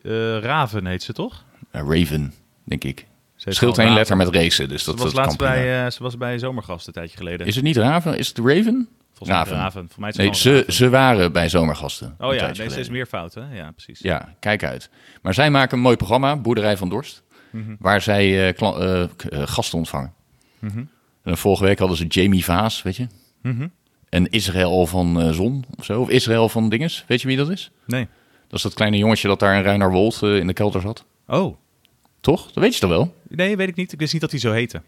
Eh, Raven heet ze toch? Eh, Raven, denk ik. Ze heet Scheelt gewoon één Raven. letter met racen, dus dat, Ze dat was kan laatst bij, prima. eh, ze was bij Zomergast een tijdje geleden. Is het niet Raven? Is het Raven? Volgens mij Raven. Voor mij is het Nee, gewoon ze, Raven. ze waren bij zomergasten. Oh een ja, tijdje nee, steeds geleden. meer fouten. Ja, precies. Ja, kijk uit. Maar zij maken een mooi programma, Boerderij van Dorst, Mhm. waar zij eh, kla- eh, k- eh, gasten ontvangen. Mhm. En vorige week hadden ze Jamie Vaas, weet je? En Israël van eh, Zon of zo, of Israël van Dinges. Weet je wie dat is? Nee. Dat is dat kleine jongetje dat daar in Ruinarwold eh, in de kelder zat. Oh, Toch? Dat weet je toch wel? nee, weet ik niet. Ik wist niet dat hij zo heette.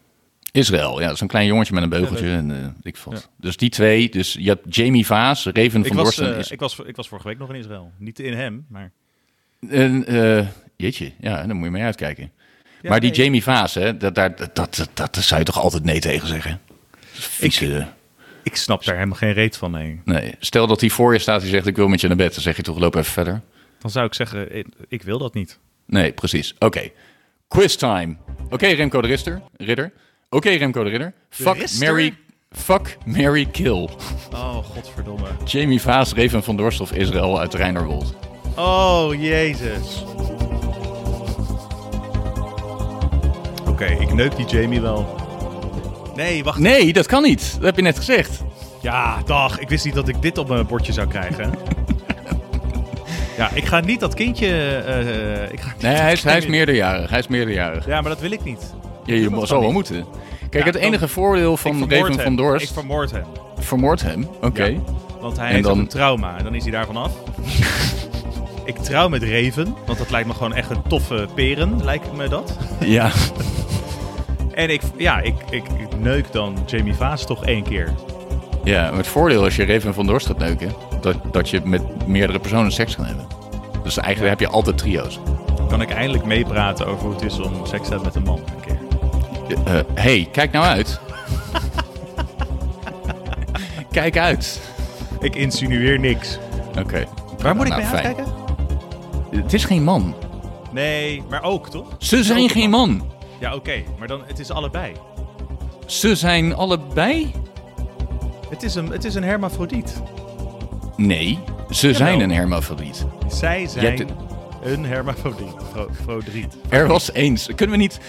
Israël, ja, dat is een klein jongetje met een beugeltje en eh, ik vond. Dus die twee, dus je hebt Jamie Vaas, Raven Ik van was, Dorst en eh, is- ik, was, ik was vorige week nog in Israël. Niet in hem, maar... En, eh, jeetje, ja, daar moet je mee uitkijken. maar die nee. Jamie Vaas, hè, dat, daar- dat, dat, dat, dat zou je toch altijd nee tegen zeggen? Vieze, Ik snap daar helemaal geen reet van, nee. nee. Stel dat hij voor je staat en zegt, ik wil met je naar bed. Dan zeg je toch, loop even verder. Dan zou ik zeggen, ik, ik wil dat niet. Nee, precies. Oké. Quiz time. Oké, Remco de Rister, Ridder. Oké, Remco de Ridder. Fuck, Rister? Mary... Fuck, Mary, kill. Oh, godverdomme. Jamie Vaas, Reven van Dorst of Israël uit Reinerwold. Oh, jezus. Oké, ik neuk die Jamie wel. Nee, wacht. Nee, dat kan niet. Dat heb je net gezegd. Ja, dag. Ik wist niet dat ik dit op mijn bordje zou krijgen. ja, ik ga niet dat kindje... eh, ik ga niet Nee, dat hij is, hij is kindje- meerderjarig. Hij is meerderjarig. Ja, maar dat wil ik niet. Ja, je mo- zou wel moeten. Kijk, Ja, het enige dan- voordeel van ik vermoord Reven hem. van Dorst... Ik vermoord hem. vermoord hem. Oké. Ja, want hij En heeft ook dan- een trauma en dan is hij daarvan af. ik trouw met Reven, want dat lijkt me gewoon echt een toffe peren, lijkt me dat. Ja. En ik, ja, ik, ik, ik neuk dan Jamie Vaas toch één keer. ja, maar het voordeel als je Reven van Dorst gaat neuken... Dat, dat je met meerdere personen seks kan hebben. Dus eigenlijk heb je altijd trio's. Kan ik eindelijk meepraten over hoe het is om seks te hebben met een man een keer. Eh, eh, hey, kijk nou uit. kijk uit. Ik insinueer niks. Oké. Waar moet ik Nou, mee fijn. uitkijken? Het is geen man. Nee, maar ook toch? Ze zijn Oh. geen man. Ja, oké, maar dan het is allebei. Ze zijn allebei? Het is een, het is een hermafrodiet. Nee, ze zijn een hermafrodiet. Zij hebt zijn het- een hermafrodiet. Fro- Frodriet. Er was eens. Kunnen we niet,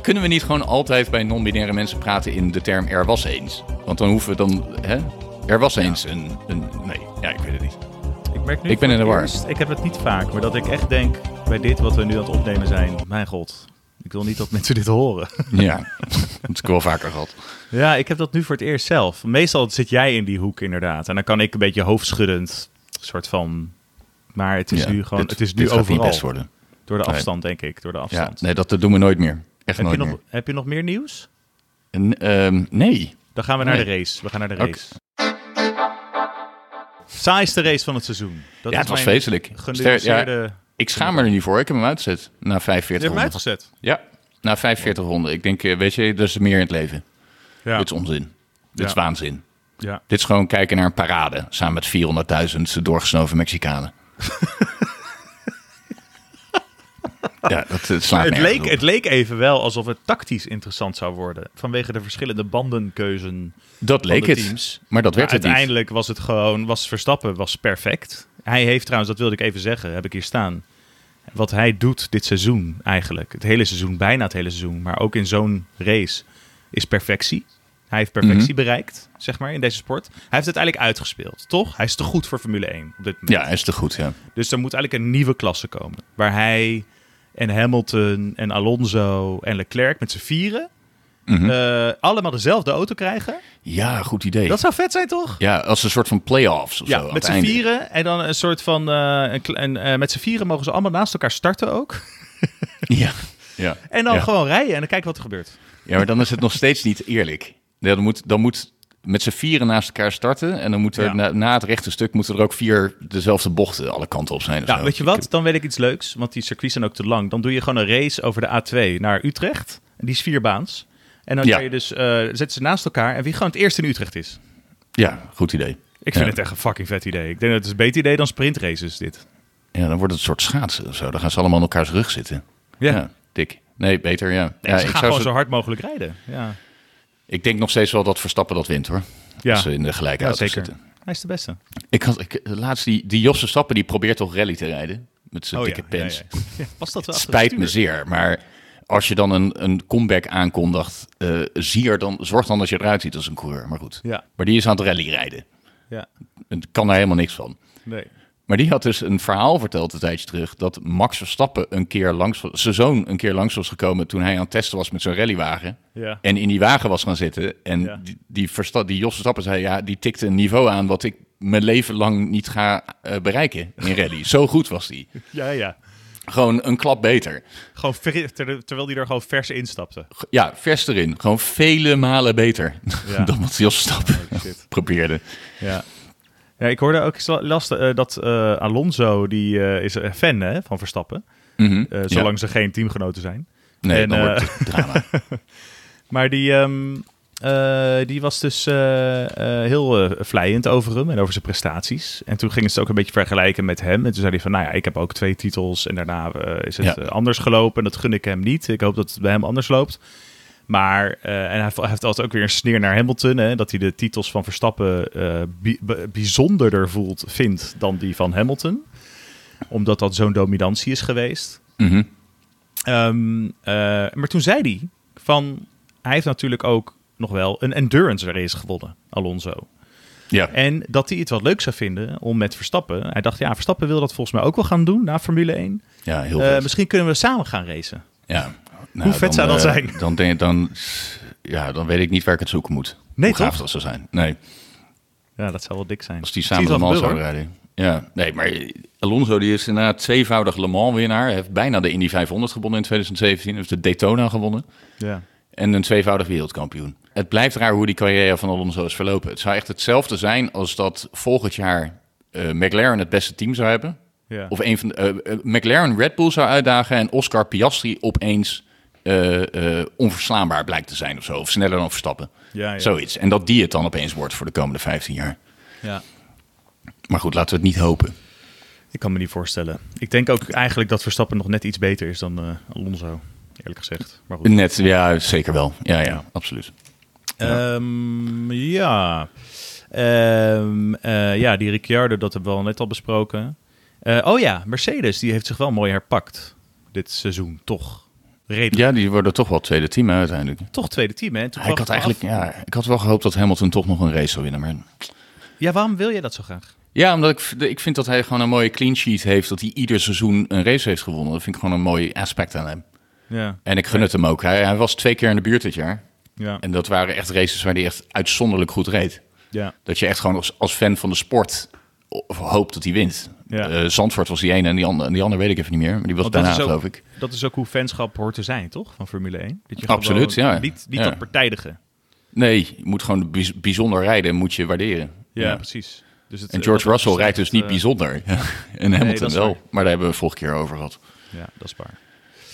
kunnen we niet gewoon altijd bij non-binaire mensen praten in de term er was eens? Want dan hoeven we dan. Hè? Er was eens een, een. Nee, ja, ik weet het niet. Ik merk nu Ik ben voor in de het war. eerst, Ik heb het niet vaak, maar dat ik echt denk bij dit wat we nu aan het opnemen zijn. Mijn god, ik wil niet dat mensen dit horen. Ja, dat is wel vaker gehad. ja, ik heb dat nu voor het eerst zelf. Meestal zit jij in die hoek inderdaad. En dan kan ik een beetje hoofdschuddend, soort van... Maar het is Ja, nu gewoon, dit- het is dit nu gaat niet overal. best worden. Door de Nee. afstand, denk ik. Door de Ja, afstand. nee, dat eh, doen we nooit meer. Echt heb, nooit je nog, meer. heb je nog meer nieuws? En, ehm, nee. Dan gaan we naar Nee. de race. We gaan naar de Oké. race. Saaiste race van het seizoen. Dat ja, is het was mijn vreselijk. Ster- Genuanceerde... ja, ik schaam me er niet voor. Ik heb hem uitgezet. Na 45 Je hebt hem ronden. uitgezet. Ja, na 45 ronden. Ik denk, eh, weet je, dat is meer in het leven. Ja. Dit is onzin. Dit is Ja. waanzin. ja. Dit is gewoon kijken naar een parade. Samen met 400.000 doorgesnoven Mexicanen. ja, dat, dat slaat Het nergens leek, op. het leek even wel alsof het tactisch interessant zou worden. Vanwege de verschillende bandenkeuzen. dat leek de het. teams. Maar dat werd Maar het niet. uiteindelijk was het gewoon, was Verstappen was perfect. Hij heeft trouwens, dat wilde ik even zeggen, heb ik hier staan. Wat hij doet dit seizoen eigenlijk. Het hele seizoen, bijna het hele seizoen. Maar ook in zo'n race is perfectie. Hij heeft perfectie Mhm. bereikt, zeg maar, in deze sport. Hij heeft het eigenlijk uitgespeeld, toch? Hij is te goed voor Formule 1 op dit moment. Ja, is te goed. Ja. Dus er moet eigenlijk een nieuwe klasse komen. Waar hij en Hamilton en Alonso en Leclerc met z'n vieren Mhm. eh, allemaal dezelfde auto krijgen. Ja, goed idee. Dat zou vet zijn, toch? Ja, als een soort van play-offs of Ja, zo. aan met het z'n einde. vieren en dan een soort van. eh, een, kle- een, eh, met z'n vieren mogen ze allemaal naast elkaar starten ook. Ja. Ja. En dan ja. gewoon rijden en dan kijken wat er gebeurt. Ja, maar dan is het nog steeds niet eerlijk. Ja, Dan moet, dan moet met z'n vieren naast elkaar starten. En dan moeten er Ja. na, na het rechte stuk moeten er ook vier dezelfde bochten alle kanten op zijn. of Ja, zo. weet je wat? Dan weet ik iets leuks, want die circuits zijn ook te lang. Dan doe je gewoon een race over de A2 naar Utrecht. En die is vierbaans. En dan Ja. kan je dus, eh, zetten ze naast elkaar en wie gewoon het eerste in Utrecht is. Ja, goed idee. Ik vind Ja. het echt een fucking vet idee. Ik denk dat het een beter idee dan sprintraces dit. Ja, dan wordt het een soort schaatsen of zo. Dan gaan ze allemaal in elkaars rug zitten. Ja, dik. Nee, beter, ja. ja En ze ik, gaan zou gewoon ze- zo hard mogelijk rijden. Ja, ik denk nog steeds wel dat Verstappen dat wint, hoor. ja. Als ze in de gelijke ja auto zeker. zitten. Hij is de beste. Ik had ik, laatst die, die Jos Verstappen, die probeert toch rally te rijden? Met zijn dikke Oh ja, pens. ja, ja. Ja, Past dat wel achter Spijt het me stuur? zeer, maar als je dan een, een comeback aankondigt, eh zie er dan, zorg dan dat je eruit ziet als een coureur. Maar goed. Ja. Maar die is aan het rally rijden. Ja, Het kan daar helemaal niks van. nee. Maar die had dus een verhaal verteld een tijdje terug dat Max Verstappen een keer langs, was- zijn zoon een keer langs was gekomen toen hij aan het testen was met zijn rallywagen. Ja. En in die wagen was gaan zitten. En Ja. die, die, Versta- die Jos Verstappen zei, ja, die tikte een niveau aan wat ik mijn leven lang niet ga eh, bereiken in rally. Zo goed was die. Ja, ja. Gewoon een klap beter. Gewoon ver- ter- terwijl die er gewoon vers instapte. Ja, vers erin. Gewoon vele malen beter Ja. dan wat Jos Verstappen shit. probeerde. Ja. Ja, ik hoorde ook, ik las eh, dat eh, Alonso, die eh, is een fan hè, van Verstappen. Eh, zolang ze geen teamgenoten zijn. Nee, En, dan eh, wordt het drama. Maar die, ehm, eh, die was dus eh, eh, heel eh, vlijend over hem en over zijn prestaties. En toen gingen ze het ook een beetje vergelijken met hem. En toen zei hij van, nou ja, ik heb ook twee titels en daarna eh, is het Ja. eh, anders gelopen. En dat gun ik hem niet. Ik hoop dat het bij hem anders loopt. Maar, eh, en hij, hij heeft altijd ook weer een sneer naar Hamilton. Hè, dat hij de titels van Verstappen eh, bi- b- bijzonderder voelt, vindt dan die van Hamilton. Omdat dat zo'n dominantie is geweest. Mhm. Ehm, eh, maar toen zei hij van, hij heeft natuurlijk ook nog wel een endurance race gewonnen, Alonso. Ja. En dat hij het wat leuk zou vinden om met Verstappen. Hij dacht, ja, Verstappen wil dat volgens mij ook wel gaan doen na Formule 1. ja, heel Eh, vet. misschien kunnen we samen gaan racen. ja. Nou, vet zou dat eh, zijn? Dan, denk, ik- dan, ja, dan weet ik niet waar ik het zoeken moet. Nee, Hoe gaaf toch? dat zou zijn. Nee, Ja, dat zou wel dik zijn. als die Ik samen Le zie het wel Mans zouden gebeuren, rijden. Ja, nee, maar Alonso die is inderdaad tweevoudig Le Mans winnaar. Heeft bijna de Indy 500 gewonnen in 2017. Heeft de Daytona gewonnen. hoor. Ja. En een tweevoudig wereldkampioen. Het blijft raar hoe die carrière van Alonso is verlopen. Het zou echt hetzelfde zijn als dat volgend jaar eh, McLaren het beste team zou hebben. Ja. Of een van de, eh, eh, McLaren Red Bull zou uitdagen en Oscar Piastri opeens eh, eh, onverslaanbaar blijkt te zijn of zo. Of sneller dan Verstappen. Ja, ja. Zoiets. En dat die het dan opeens wordt voor de komende 15 jaar. ja. Maar goed, laten we het niet hopen. Ik kan me niet voorstellen. Ik denk ook eigenlijk dat Verstappen nog net iets beter is dan eh, Alonso, eerlijk gezegd. Maar goed. Net, ja, zeker wel. Ja, ja, absoluut. Ehm, ja. Ehm, eh, ja, die Ricciardo, dat hebben we al net al besproken. Eh, oh ja, Mercedes, die heeft zich wel mooi herpakt dit seizoen, toch? Redelijk. Ja, die worden toch wel het tweede team hè, uiteindelijk. Toch tweede team, hè? Toen Ik had kwam het af. eigenlijk ja, ik had wel gehoopt dat Hamilton toch nog een race zou winnen. Maar Ja, waarom wil jij dat zo graag? Ja, omdat ik, v- ik vind dat hij gewoon een mooie clean sheet heeft. Dat hij ieder seizoen een race heeft gewonnen. Dat vind ik gewoon een mooi aspect aan hem. Ja, En ik gun het hem ook. Hij, hij was twee keer in de buurt dit jaar. ja, En dat waren echt races waar hij echt uitzonderlijk goed reed. ja. Dat je echt gewoon als, als fan van de sport o- hoopt dat hij wint. Ja. Eh, Zandvoort was die ene en die andere. En die andere weet ik even niet meer. Maar die was Want daarna, is ook, geloof ik. dat is ook hoe fanschap hoort te zijn, toch? Van Formule 1. Dat je Absoluut, gewoon ja. Niet, niet Ja. dat partijdige. Nee, je moet gewoon bijz- bijzonder rijden. Moet je waarderen. Ja, precies. Dus het, En dat George Russell opzicht, rijdt dus niet eh, bijzonder. en Hamilton dat is wel. waar. Maar daar hebben we vorige keer over gehad. Ja, dat is waar.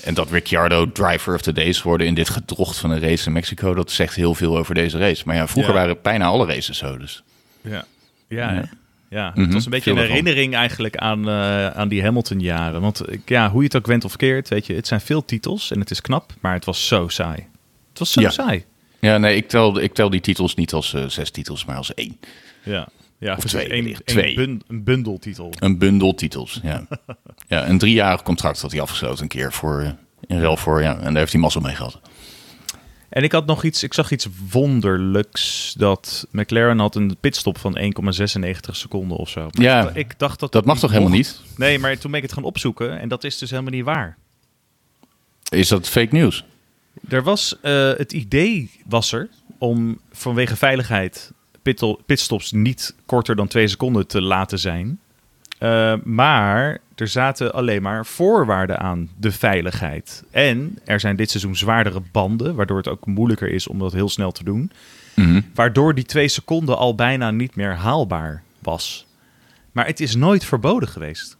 En dat Ricciardo driver of the day is geworden in dit gedrocht van een race in Mexico, dat zegt heel veel over deze race. Maar ja, vroeger Ja. waren bijna alle races zo. Dus Ja, ja, hè? ja. Mhm, het was een beetje een veel ervan. herinnering eigenlijk aan, eh, aan die Hamilton-jaren. Want ik- ja, hoe je het ook went of keert, weet je, het zijn veel titels en het is knap, maar het was zo saai. Het was zo Ja. saai. ja, nee, ik tel, ik tel die titels niet als eh, zes titels, maar als één. Ja, ja precies. twee, Eén- wellicht. één Twee. bun- een bundeltitel. Een bundel titels. Ja, ja een driejarig contract had hij afgesloten een keer voor, eh, in ruil voor, ja, en daar heeft hij mazzel mee gehad. En ik had nog iets, ik zag iets wonderlijks dat McLaren had een pitstop van 1,96 seconden of zo. Maar Ja, ik- ik dacht dat Dat mag toch helemaal niet? Nee, maar toen ben ik het gaan opzoeken en dat is dus helemaal niet waar. Is dat fake news? Er was, eh, het idee was er om vanwege veiligheid pitel- pitstops niet korter dan twee seconden te laten zijn. Eh, maar er zaten alleen maar voorwaarden aan de veiligheid. En er zijn dit seizoen zwaardere banden, waardoor het ook moeilijker is om dat heel snel te doen. Mhm. Waardoor die twee seconden al bijna niet meer haalbaar was. Maar het is nooit verboden geweest.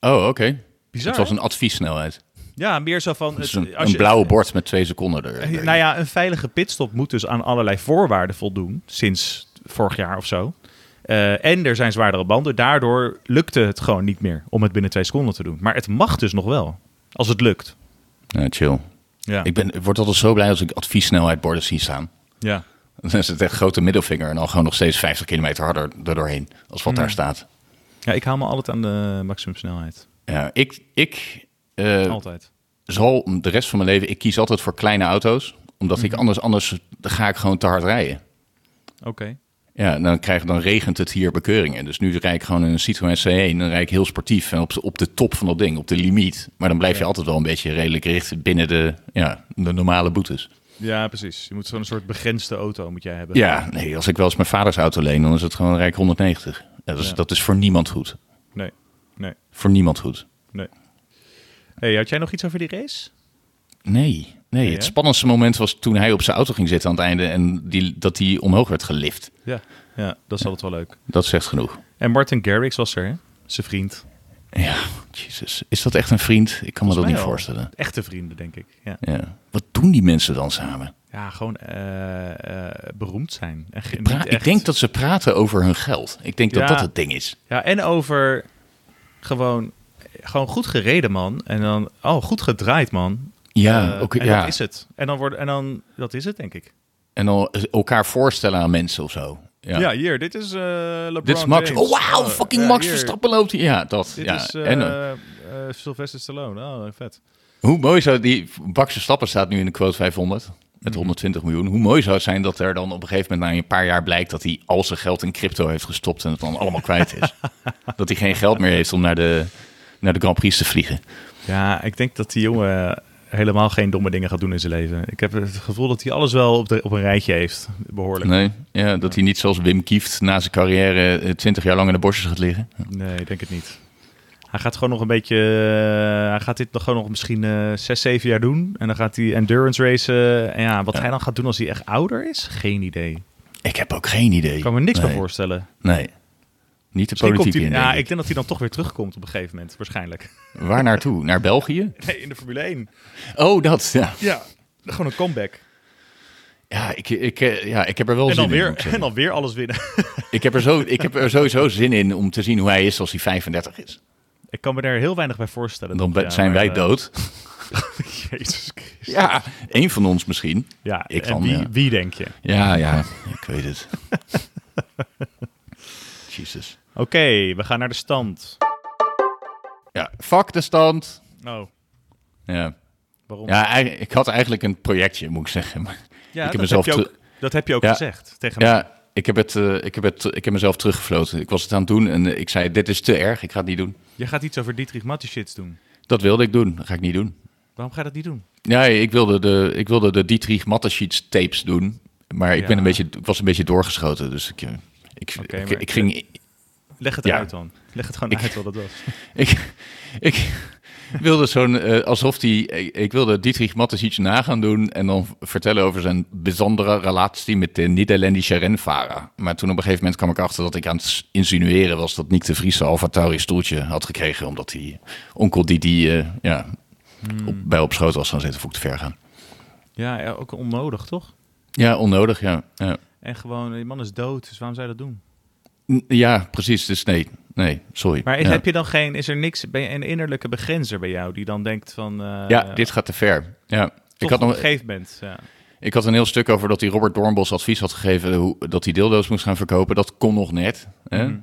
Oh, oké. Bizar, Het was hè? een adviessnelheid. Ja, meer zo van... Dus het- een, als een je- blauwe bord met twee seconden er. Eh, Nou ja, een veilige pitstop moet dus aan allerlei voorwaarden voldoen. Sinds vorig jaar of zo. Eh, en er zijn zwaardere banden. Daardoor lukte het gewoon niet meer om het binnen twee seconden te doen. Maar het mag dus nog wel. Als het lukt. Ja, chill. Ja. Ik, ben, ik word altijd zo blij als ik adviessnelheidborden zie staan. ja. Dan is het echt grote middelvinger en dan gewoon nog steeds 50 kilometer harder erdoorheen als wat daar staat. ja, ik hou me altijd aan de maximumsnelheid. Ja, ik ik eh, Altijd. zal de rest van mijn leven, ik kies altijd voor kleine auto's, omdat ik anders, anders dan ga ik gewoon te hard rijden. Oké. Ja, en dan, krijg, dan regent het hier bekeuringen. Dus nu rijd ik gewoon in een Citroën C1. Dan rijd ik heel sportief en op, op de top van dat ding, op de limiet. Maar dan blijf je altijd wel een beetje redelijk richt binnen de, ja, de normale boetes. Ja, precies. Je moet zo'n soort begrensde auto moet jij hebben. Ja, nee, als ik wel eens mijn vaders auto leen, dan is het gewoon rijk 190. Ja, dat, is, Ja. dat is voor niemand goed. Nee. Nee. Voor niemand goed. Nee. Hey, had jij nog iets over die race? Nee. Nee, Nee, het hè? spannendste moment was toen hij op zijn auto ging zitten aan het einde en die, dat hij omhoog werd gelift. Ja. Ja, dat is altijd wel leuk. Dat zegt genoeg. En Martin Garrix was er, hè? Zijn vriend. Ja, jezus. Is dat echt een vriend? Ik kan me dat Volgens mij niet wel. voorstellen. Echte vrienden, denk ik. Ja. Ja. Wat doen die mensen dan samen? Ja, gewoon eh, eh, beroemd zijn. En ge- Pra- niet ik echt- denk dat ze praten over hun geld. Ik denk Ja. dat dat het ding is. Ja, en over gewoon, gewoon goed gereden, man. En dan, oh, goed gedraaid, man. Ja, Eh, ook, en Ah, ja. dat is het. En dan, worden, en dan, dat is het, denk ik. en dan elkaar voorstellen aan mensen of zo. Ja. Ja, hier, dit is eh LeBron Dit is Max. James. Oh, wauw, Oh, fucking ja, Max hier, Verstappen loopt hier. Ja, dat. Dit ja. is eh, en, eh, eh, Sylvester Stallone. Oh, vet. Hoe mooi zou die. Max Verstappen staat nu in de quote 500 met Mhm. 120 miljoen. Hoe mooi zou het zijn dat er dan op een gegeven moment na een paar jaar blijkt dat hij al zijn geld in crypto heeft gestopt en het dan allemaal kwijt is. dat hij geen geld meer heeft om naar de, naar de Grand Prix te vliegen. Ja, ik denk dat die jongen helemaal geen domme dingen gaat doen in zijn leven. Ik heb het gevoel dat hij alles wel op, de, op een rijtje heeft, behoorlijk. Nee, ja, dat hij niet zoals Wim Kieft na zijn carrière eh, 20 jaar lang in de bosjes gaat liggen. Nee, ik denk het niet. Hij gaat gewoon nog een beetje. eh, hij gaat dit nog gewoon nog misschien eh 6, 7 jaar doen. En dan gaat hij endurance racen. En ja, wat hij dan gaat doen als hij echt ouder is, geen idee. Ik Ik heb ook geen idee. kan me niks nee. meer voorstellen. Nee. Niet de Misschien komt politiek hij, in. ja, denk ik denk dat hij dan toch weer terugkomt op een gegeven moment, waarschijnlijk. ik. Waar naartoe? Naar België? Nee, in de Formule 1. Oh, dat. Ja, Ja, gewoon een comeback. ja, ik, ik, eh, ja ik heb er wel En zin dan, in. moet ik weer, zeggen. en dan weer alles winnen. Ik heb, er zo, ik heb er sowieso zin in om te zien hoe hij is als hij 35 is. Ik kan me daar heel weinig bij voorstellen. En dan toch? be- Ja, zijn maar, wij eh, dood. Jezus Christus. Ja, één van ons misschien. Ja, Ik en dan, wie, ja. wie denk je? Ja, ja, ik weet het. Jezus. Oké, we gaan naar de stand. Ja, fuck de stand. Oh, Ja, waarom? ja ei- ik had eigenlijk een projectje, moet ik zeggen. Maar Ja, ik dat, heb mezelf heb je te- ook, dat heb je ook Ja. gezegd tegen mij. ja, ik heb, het, eh, ik, heb het, ik heb mezelf teruggefloten. Ik was het aan het doen en eh, ik zei, dit is te erg, ik ga het niet doen. Je gaat iets over Dietrich Mateschitz doen. Dat wilde ik doen, dat ga ik niet doen. Waarom ga je dat niet doen? Nee, ik wilde de, ik wilde de Dietrich Mateschitz tapes doen. Maar ik, ben Ja. een beetje, ik was een beetje doorgeschoten. Dus ik, eh, ik, Oké, ik, maar- ik ging... Leg het Ja. uit dan. Leg het gewoon Ik- uit wat dat was. Ik, ik wilde zo'n... eh, alsof die... Ik, ik wilde Dietrich Mateschitz na gaan doen... en dan vertellen over zijn bijzondere relatie... met de Nederlandse renvarer. Maar toen op een gegeven moment kwam ik achter... dat ik aan het insinueren was... dat Nick de Vries een Alvatari stoeltje had gekregen... omdat die onkel die die... eh, ja, Hmm. op, bij op schoot was gaan zitten... voel ik te ver gaan. Ja, ja, ook onnodig, toch? Ja, onnodig, ja. ja. En gewoon, die man is dood, dus waarom zou je dat doen? N- Ja, precies. Dus nee, nee, sorry. Maar is, ja. heb je dan geen, is er niks, ben je een innerlijke begrenzer bij jou die dan denkt van... eh, ja, dit gaat te ver. Ja. toch Ik had, op nog, een gegeven moment, ja. ik had een heel stuk over dat hij Robert Dornbos advies had gegeven hoe, dat hij dildo's moest gaan verkopen. Dat kon nog net. Hè? Mhm.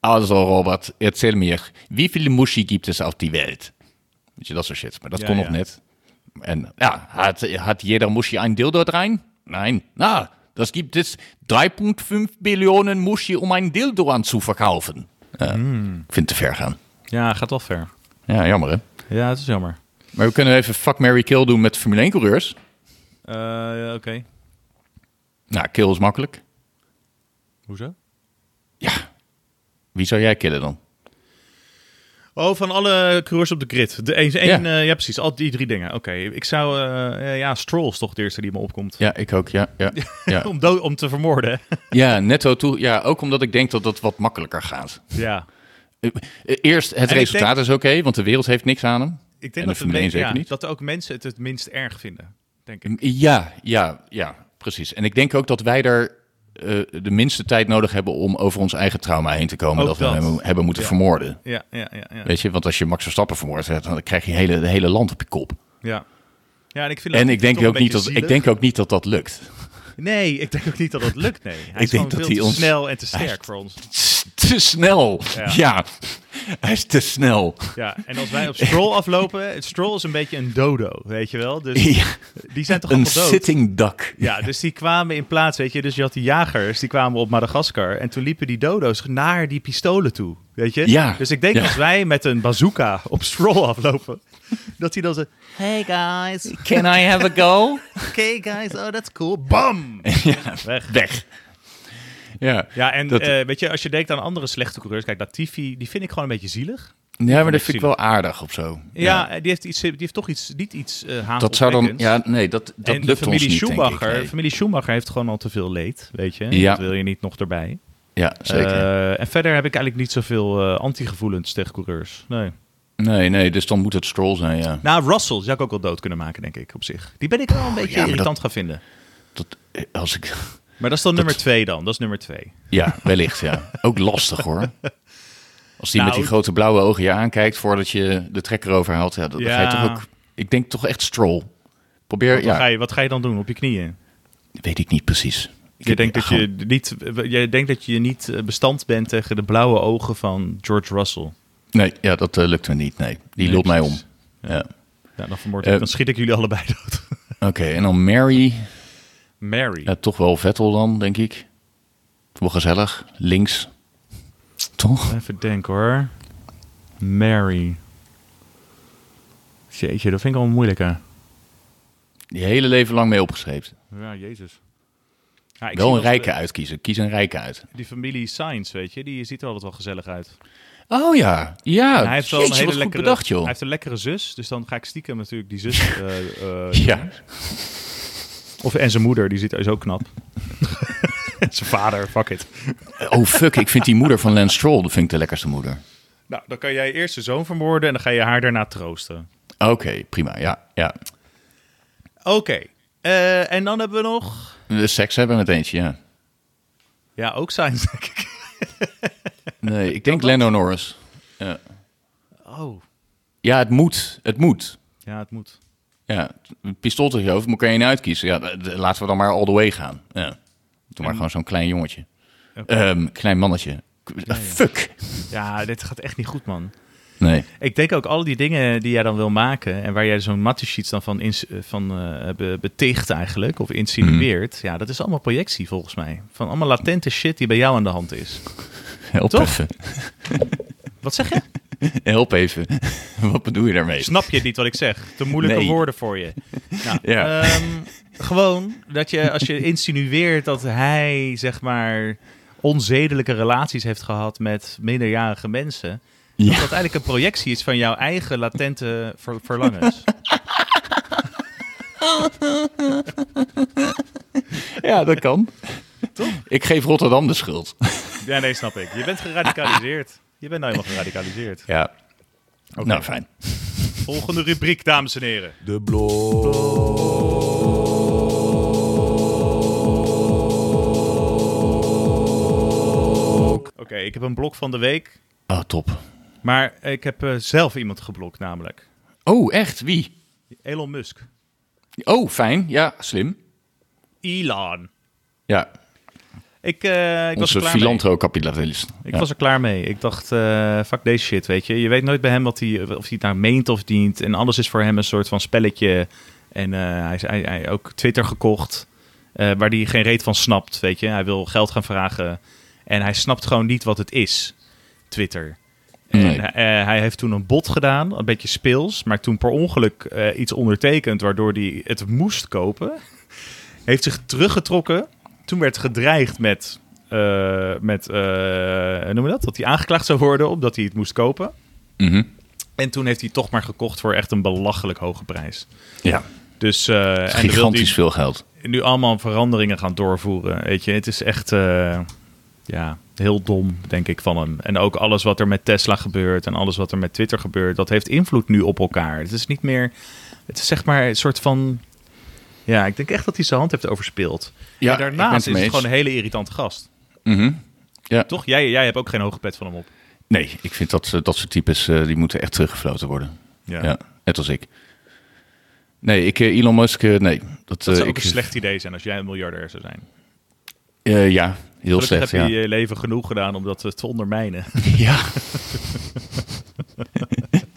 Also Robert, erzähl mir, wie viele Muschi gibt es auf die Welt? Weet je, dat soort shit. Maar dat Ja, kon ja. nog net. En ja, had, had jeder Muschi ein Dildo rein? Nein. Na, das gibt es 3,5 Billionen Muschi om ein Dildo aan te Mhm. verkaufen. Ja, Ik vind het te ver gaan. Ja, gaat wel ver. Ja, jammer hè? Ja, het is jammer. Maar we kunnen even fuck, Mary kill doen met Formule 1 coureurs. Eh, ja, Oké, Nou, kill is makkelijk. hoezo? Wie zou jij killen dan? Oh, van alle coureurs op de grid. De één, Ja. één, eh, ja, precies. Al die drie dingen. Oké, ik zou... eh, ja, Stroll is toch de eerste die me opkomt. Ja, ik ook. Ja, ja, ja. Om, dood, om te vermoorden. ja netto toe. Ja, ook omdat ik denk dat dat wat makkelijker gaat. ja. Eh, eh, Eerst, het ik resultaat denk- is oké, want de wereld heeft niks aan hem. Ik En denk de dat, de Formule één men- zeker ja, niet? dat ook mensen het het minst erg vinden, denk ik. M- Ja, ja, ja, precies. En ik denk ook dat wij daar eh, de minste tijd nodig hebben om over ons eigen trauma heen te komen. Ook dat, dat. we hem hebben moeten Ja. vermoorden. Ja, ja, ja. ja. Weet je, want als je Max Verstappen vermoord hebt, dan krijg je hele, de hele land op je kop. ja. ja en ik, vind dat En ik denk, toch ook een niet dat, beetje ik zielig. denk ook niet dat dat lukt. Nee, ik denk ook niet dat dat lukt, nee. Hij denk is gewoon dat veel hij te ons- snel en te sterk voor ons. S- Te snel. Ja. Ja. hij is te snel. Ja, en als wij op Stroll aflopen... het Stroll is een beetje een dodo, weet je wel? Dus Ja, die zijn toch een allemaal dood? sitting duck. Ja, dus die kwamen in plaats, weet je, dus je had die jagers, die kwamen op Madagaskar en toen liepen die dodo's naar die pistolen toe, weet je? Ja. Dus ik denk Ja. als wij met een bazooka op Stroll aflopen, dat hij dan zo, hey guys, Can I have a go? okay guys, oh that's cool, bam! ja, Weg. weg. Ja, Ja, en Dat- eh, weet je, als je denkt aan andere slechte coureurs, kijk, Latifi, die vind ik gewoon een beetje zielig. ja, maar dat ik vind ik zielig. wel aardig of zo. Ja, eh, die, heeft iets, die heeft toch iets, niet iets eh Dat zou dan, haatopwekkends. ja, nee, dat, dat en de lukt ons familie niet, denk ik. Schumacher, Nee. familie Schumacher heeft gewoon al te veel leed, weet je? Ja. Dat wil je niet nog erbij. Ja, zeker. Eh, en verder heb ik eigenlijk niet zoveel eh anti-gevoelens tegen coureurs. Nee. nee, nee, dus dan moet het Stroll zijn, ja. Nou, Russell zou ik ook wel dood kunnen maken, denk ik, op zich. Die ben ik wel een beetje Oh, ja, maar irritant dat- gaan vinden. Dat, eh, als ik, Maar dat is dan nummer twee dan. Dat is nummer twee. ja, wellicht, ja. Ook lastig, hoor. Als die met Nou, die grote blauwe ogen je aankijkt voordat je de trekker overhaalt, ja, dat, dan ga je Ja. toch ook... Ik denk toch echt Stroll. Probeer, Wat, ga ja, je, wat ga je dan doen? Op je knieën? weet ik niet precies. Ik Je heb- denkt, dat gewoon- je, niet, je denkt dat je niet eh, bestand bent tegen de blauwe ogen van George Russell. Nee, ja, dat eh, lukt me niet, nee. Die lult mij om. precies. Ja. Ja, dan, vermoord Eh, dan schiet ik jullie allebei dood. Oké, en dan Mary. Mary. Ja, toch wel Vettel dan, denk ik. Wel gezellig. Links. Toch? Even denken hoor. Mary. Jeetje, dat vind ik al moeilijk hè. Die hele leven lang mee opgeschreven. Ja, jezus. Wel een rijke uitkiezen. Kies een rijke uit. Die familie Science, weet je, die ziet er altijd wel gezellig uit. Oh ja. Ja. En hij heeft wel een Jeetje, hele wat goed lekkere, bedacht, joh. Hij heeft een lekkere zus, dus dan ga ik stiekem natuurlijk die zus. eh, eh, Ja. Of en zijn moeder, die ziet is ook knap. zijn vader, fuck it. Oh fuck, ik vind die moeder van Lance Stroll, dat vind ik de lekkerste moeder. Nou, dan kan jij eerst zijn zoon vermoorden en dan ga je haar daarna troosten. Oké, prima. Ja, ja. Oké. eh, en dan hebben we nog. De seks hebben met eentje, ja. Ja, ook Science, denk ik. Nee, ik denk Lando Norris. Oh. Ja, het moet. Het moet. Ja, het moet. Ja, een pistool tegen je hoofd, moet ik er één uitkiezen. Ja, d- d- laten we dan maar all the way gaan. Ja. Doe maar gewoon zo'n klein jongetje. Ehm, klein mannetje. K- ah, Fuck. Ja, dit gaat echt niet goed, man. Nee. Ik denk ook al die dingen die jij dan wil maken en waar jij zo'n mattesheets dan van, ins- eh, van eh, be- beticht eigenlijk of insinueert. Mhm. Ja, dat is allemaal projectie volgens mij. Van allemaal latente shit die bij jou aan de hand is. Help Toch? even. Wat zeg je? Help even. Wat bedoel je daarmee? Snap je niet wat ik zeg? Te moeilijke Nee. woorden voor je. Nou, Ja. ehm, gewoon dat je als je insinueert dat hij zeg maar onzedelijke relaties heeft gehad met minderjarige mensen. Dat dat eigenlijk een projectie is van jouw eigen latente ver- verlangens. Ja, dat kan. Toch? Ik geef Rotterdam de schuld. Ja, nee, snap ik. Je bent geradicaliseerd. Je bent nou helemaal geradicaliseerd. Ja. Nou, fijn. Volgende rubriek, dames en heren. De blog. Oké, ik heb een blok van de week. Ah, top. Maar ik heb eh, zelf iemand geblokt, namelijk Oh, echt? Wie? Elon Musk. Oh, fijn. Ja, slim. Elon. Ja, Ik, eh, ik was er onze klaar mee. filantro-kapitalist. Ik Ja. was er klaar mee. Ik dacht, eh, fuck deze shit, weet je. Je weet nooit bij hem wat hij, of hij het nou meent of niet. En alles is voor hem een soort van spelletje. En eh, hij is hij, hij ook Twitter gekocht, eh, waar hij geen reet van snapt, weet je. Hij wil geld gaan vragen en hij snapt gewoon niet wat het is, Twitter. En Nee. eh, hij heeft toen een bot gedaan, een beetje speels, maar toen per ongeluk eh, iets ondertekend, waardoor hij het moest kopen. Heeft zich teruggetrokken. Toen werd gedreigd met, eh, met eh, hoe noem je dat? Dat hij aangeklaagd zou worden omdat hij het moest kopen. Mhm. En toen heeft hij toch maar gekocht voor echt een belachelijk hoge prijs. Ja, Dus, eh, en dan wil gigantisch hij- veel geld. nu allemaal veranderingen gaan doorvoeren. Weet je, het is echt eh, ja, heel dom, denk ik, van hem. En ook alles wat er met Tesla gebeurt en alles wat er met Twitter gebeurt, dat heeft invloed nu op elkaar. Het is niet meer, het is zeg maar een soort van. Ja, ik denk echt dat hij zijn hand heeft overspeeld. Ja, en ik ben daarnaast het is mee het eens. gewoon een hele irritante gast. Mhm. Ja. Toch? Jij, jij hebt ook geen hoge pet van hem op. Nee, ik vind dat, eh, dat soort types, eh, die moeten echt teruggefloten worden. Ja. net als ik. Nee, ik, eh, Elon Musk, eh, nee. Dat, Dat eh, zou ook ik, een slecht idee zijn als jij een miljardair zou zijn. eh, ja, heel Gelukkig slecht. heb Ja. je je leven genoeg gedaan om dat eh, te ondermijnen. ja.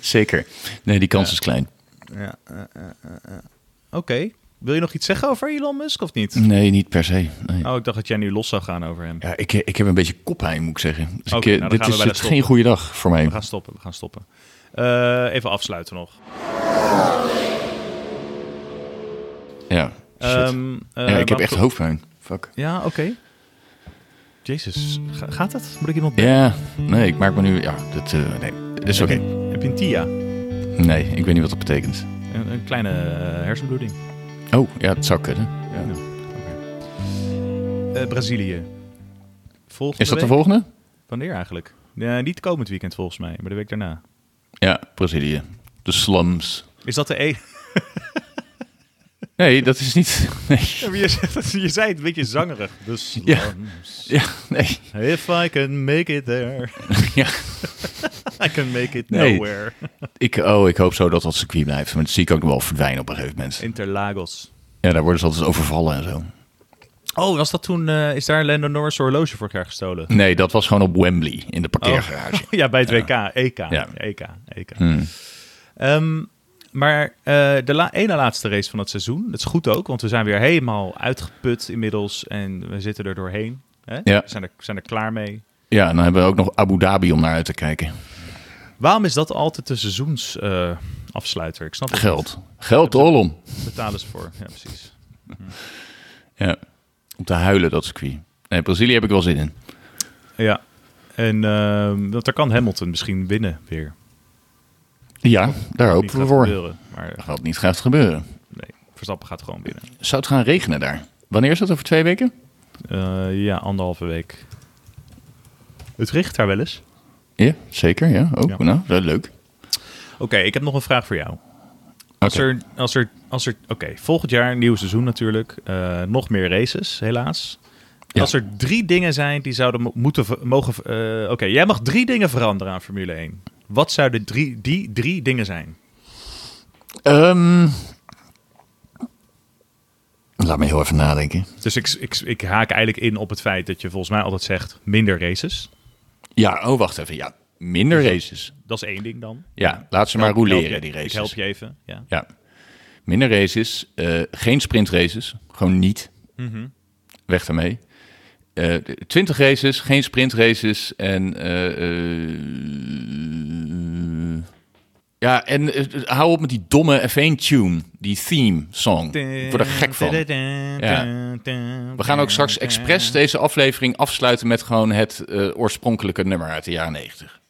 Zeker. Nee, die kans is klein. Ja, eh, eh, eh, eh. Oké. Wil je nog iets zeggen over Elon Musk of niet? Nee, niet per se. Nee. Oh, ik dacht dat jij nu los zou gaan over hem. Ja, ik, ik heb een beetje koppijn, moet ik zeggen. Dus Oké, ik, eh, nou, dan dit gaan we is bij de het stop. geen goede dag voor mij. We gaan stoppen, we gaan stoppen. Eh, even afsluiten nog. Ja, shit. Ehm, ja, ik heb eh, waarom- echt hoofdpijn. Fuck. Ja, oké. Jezus, ga- gaat het? Moet ik iemand... Ja, nee, ik maak me nu... Ja, dat, eh, nee, dat is oké. Heb je een TIA? Een, Nee, ik weet niet wat dat betekent. een kleine eh, hersenbloeding. Oh, ja, het zou kunnen. Ja. Eh, Brazilië. Volgende Is dat de week? volgende? Wanneer eigenlijk? Ja, niet komend weekend volgens mij, maar de week daarna. Ja, Brazilië. De slums. Is dat de E? Nee, dat is niet... Nee. je, zei- je zei het een beetje zangerig. Dus Ja. Ja, nee. If I can make it there, Ja. I can make it Nee. nowhere. Ik, oh, ik hoop zo dat dat circuit blijft. Maar dat zie ik ook nog wel verdwijnen op een gegeven moment. Interlagos. Ja, daar worden ze altijd overvallen en zo. Oh, was dat toen, eh, is daar Lando Norris horloge vorig jaar gestolen? Nee, dat was gewoon op Wembley, in de parkeergarage. ja, Hmm. bij het E WK, EK. Ja. EK, EK. E Ehm, maar eh, de la- ene laatste race van het seizoen, dat is goed ook, want we zijn weer helemaal uitgeput inmiddels en we zitten er doorheen. Hè? Ja. We zijn er, zijn er klaar mee. Ja, en dan hebben we ook nog Abu Dhabi om naar uit te kijken. Waarom is dat altijd de seizoensafsluiter? afsluiter? ik snap het Geld. Geld, Olom. niet. Betalen ze voor. Ja, precies. Ja. Om te huilen, dat circuit. Nee, Brazilië heb ik wel zin in. Ja. En ehm want daar kan Hamilton misschien winnen weer. Ja, daar Niet hopen we gaat voor. gebeuren, maar Wat niet gaat gebeuren. nee, Verstappen gaat gewoon winnen. Zou het gaan regenen daar? Wanneer is dat? Over twee weken? Eh, ja, anderhalve week. Het richt daar wel eens. Ja, zeker. Ja, ook. Ja. Nou, wel leuk. Oké, ik heb nog een vraag voor jou. Als Oké. er, als er, als er, oké, volgend jaar een nieuw seizoen natuurlijk. Eh, nog meer races, helaas. Ja. Als er drie dingen zijn die zouden mo- moeten ver- mogen. ver- eh, oké, jij mag drie dingen veranderen aan Formule 1. Wat zouden drie, die drie dingen zijn? Ehm, laat me heel even nadenken. Dus ik, ik, ik haak eigenlijk in op het feit dat je volgens mij altijd zegt minder races. Ja, oh, wacht even. Ja, minder races. Dat is één ding dan. Ja, laat ze maar Ik help je- roleren, die Ik races. help je even. Ja. Ja. Minder races, eh, geen sprintraces, gewoon niet. Weg daarmee. Eh 20 races, geen sprintraces en. eh, eh, ja, en eh, hou op met die domme F1-tune, die theme-song. Ik word er gek van. Ja. We gaan ook straks expres deze aflevering afsluiten met gewoon het eh, oorspronkelijke nummer uit de jaren 90.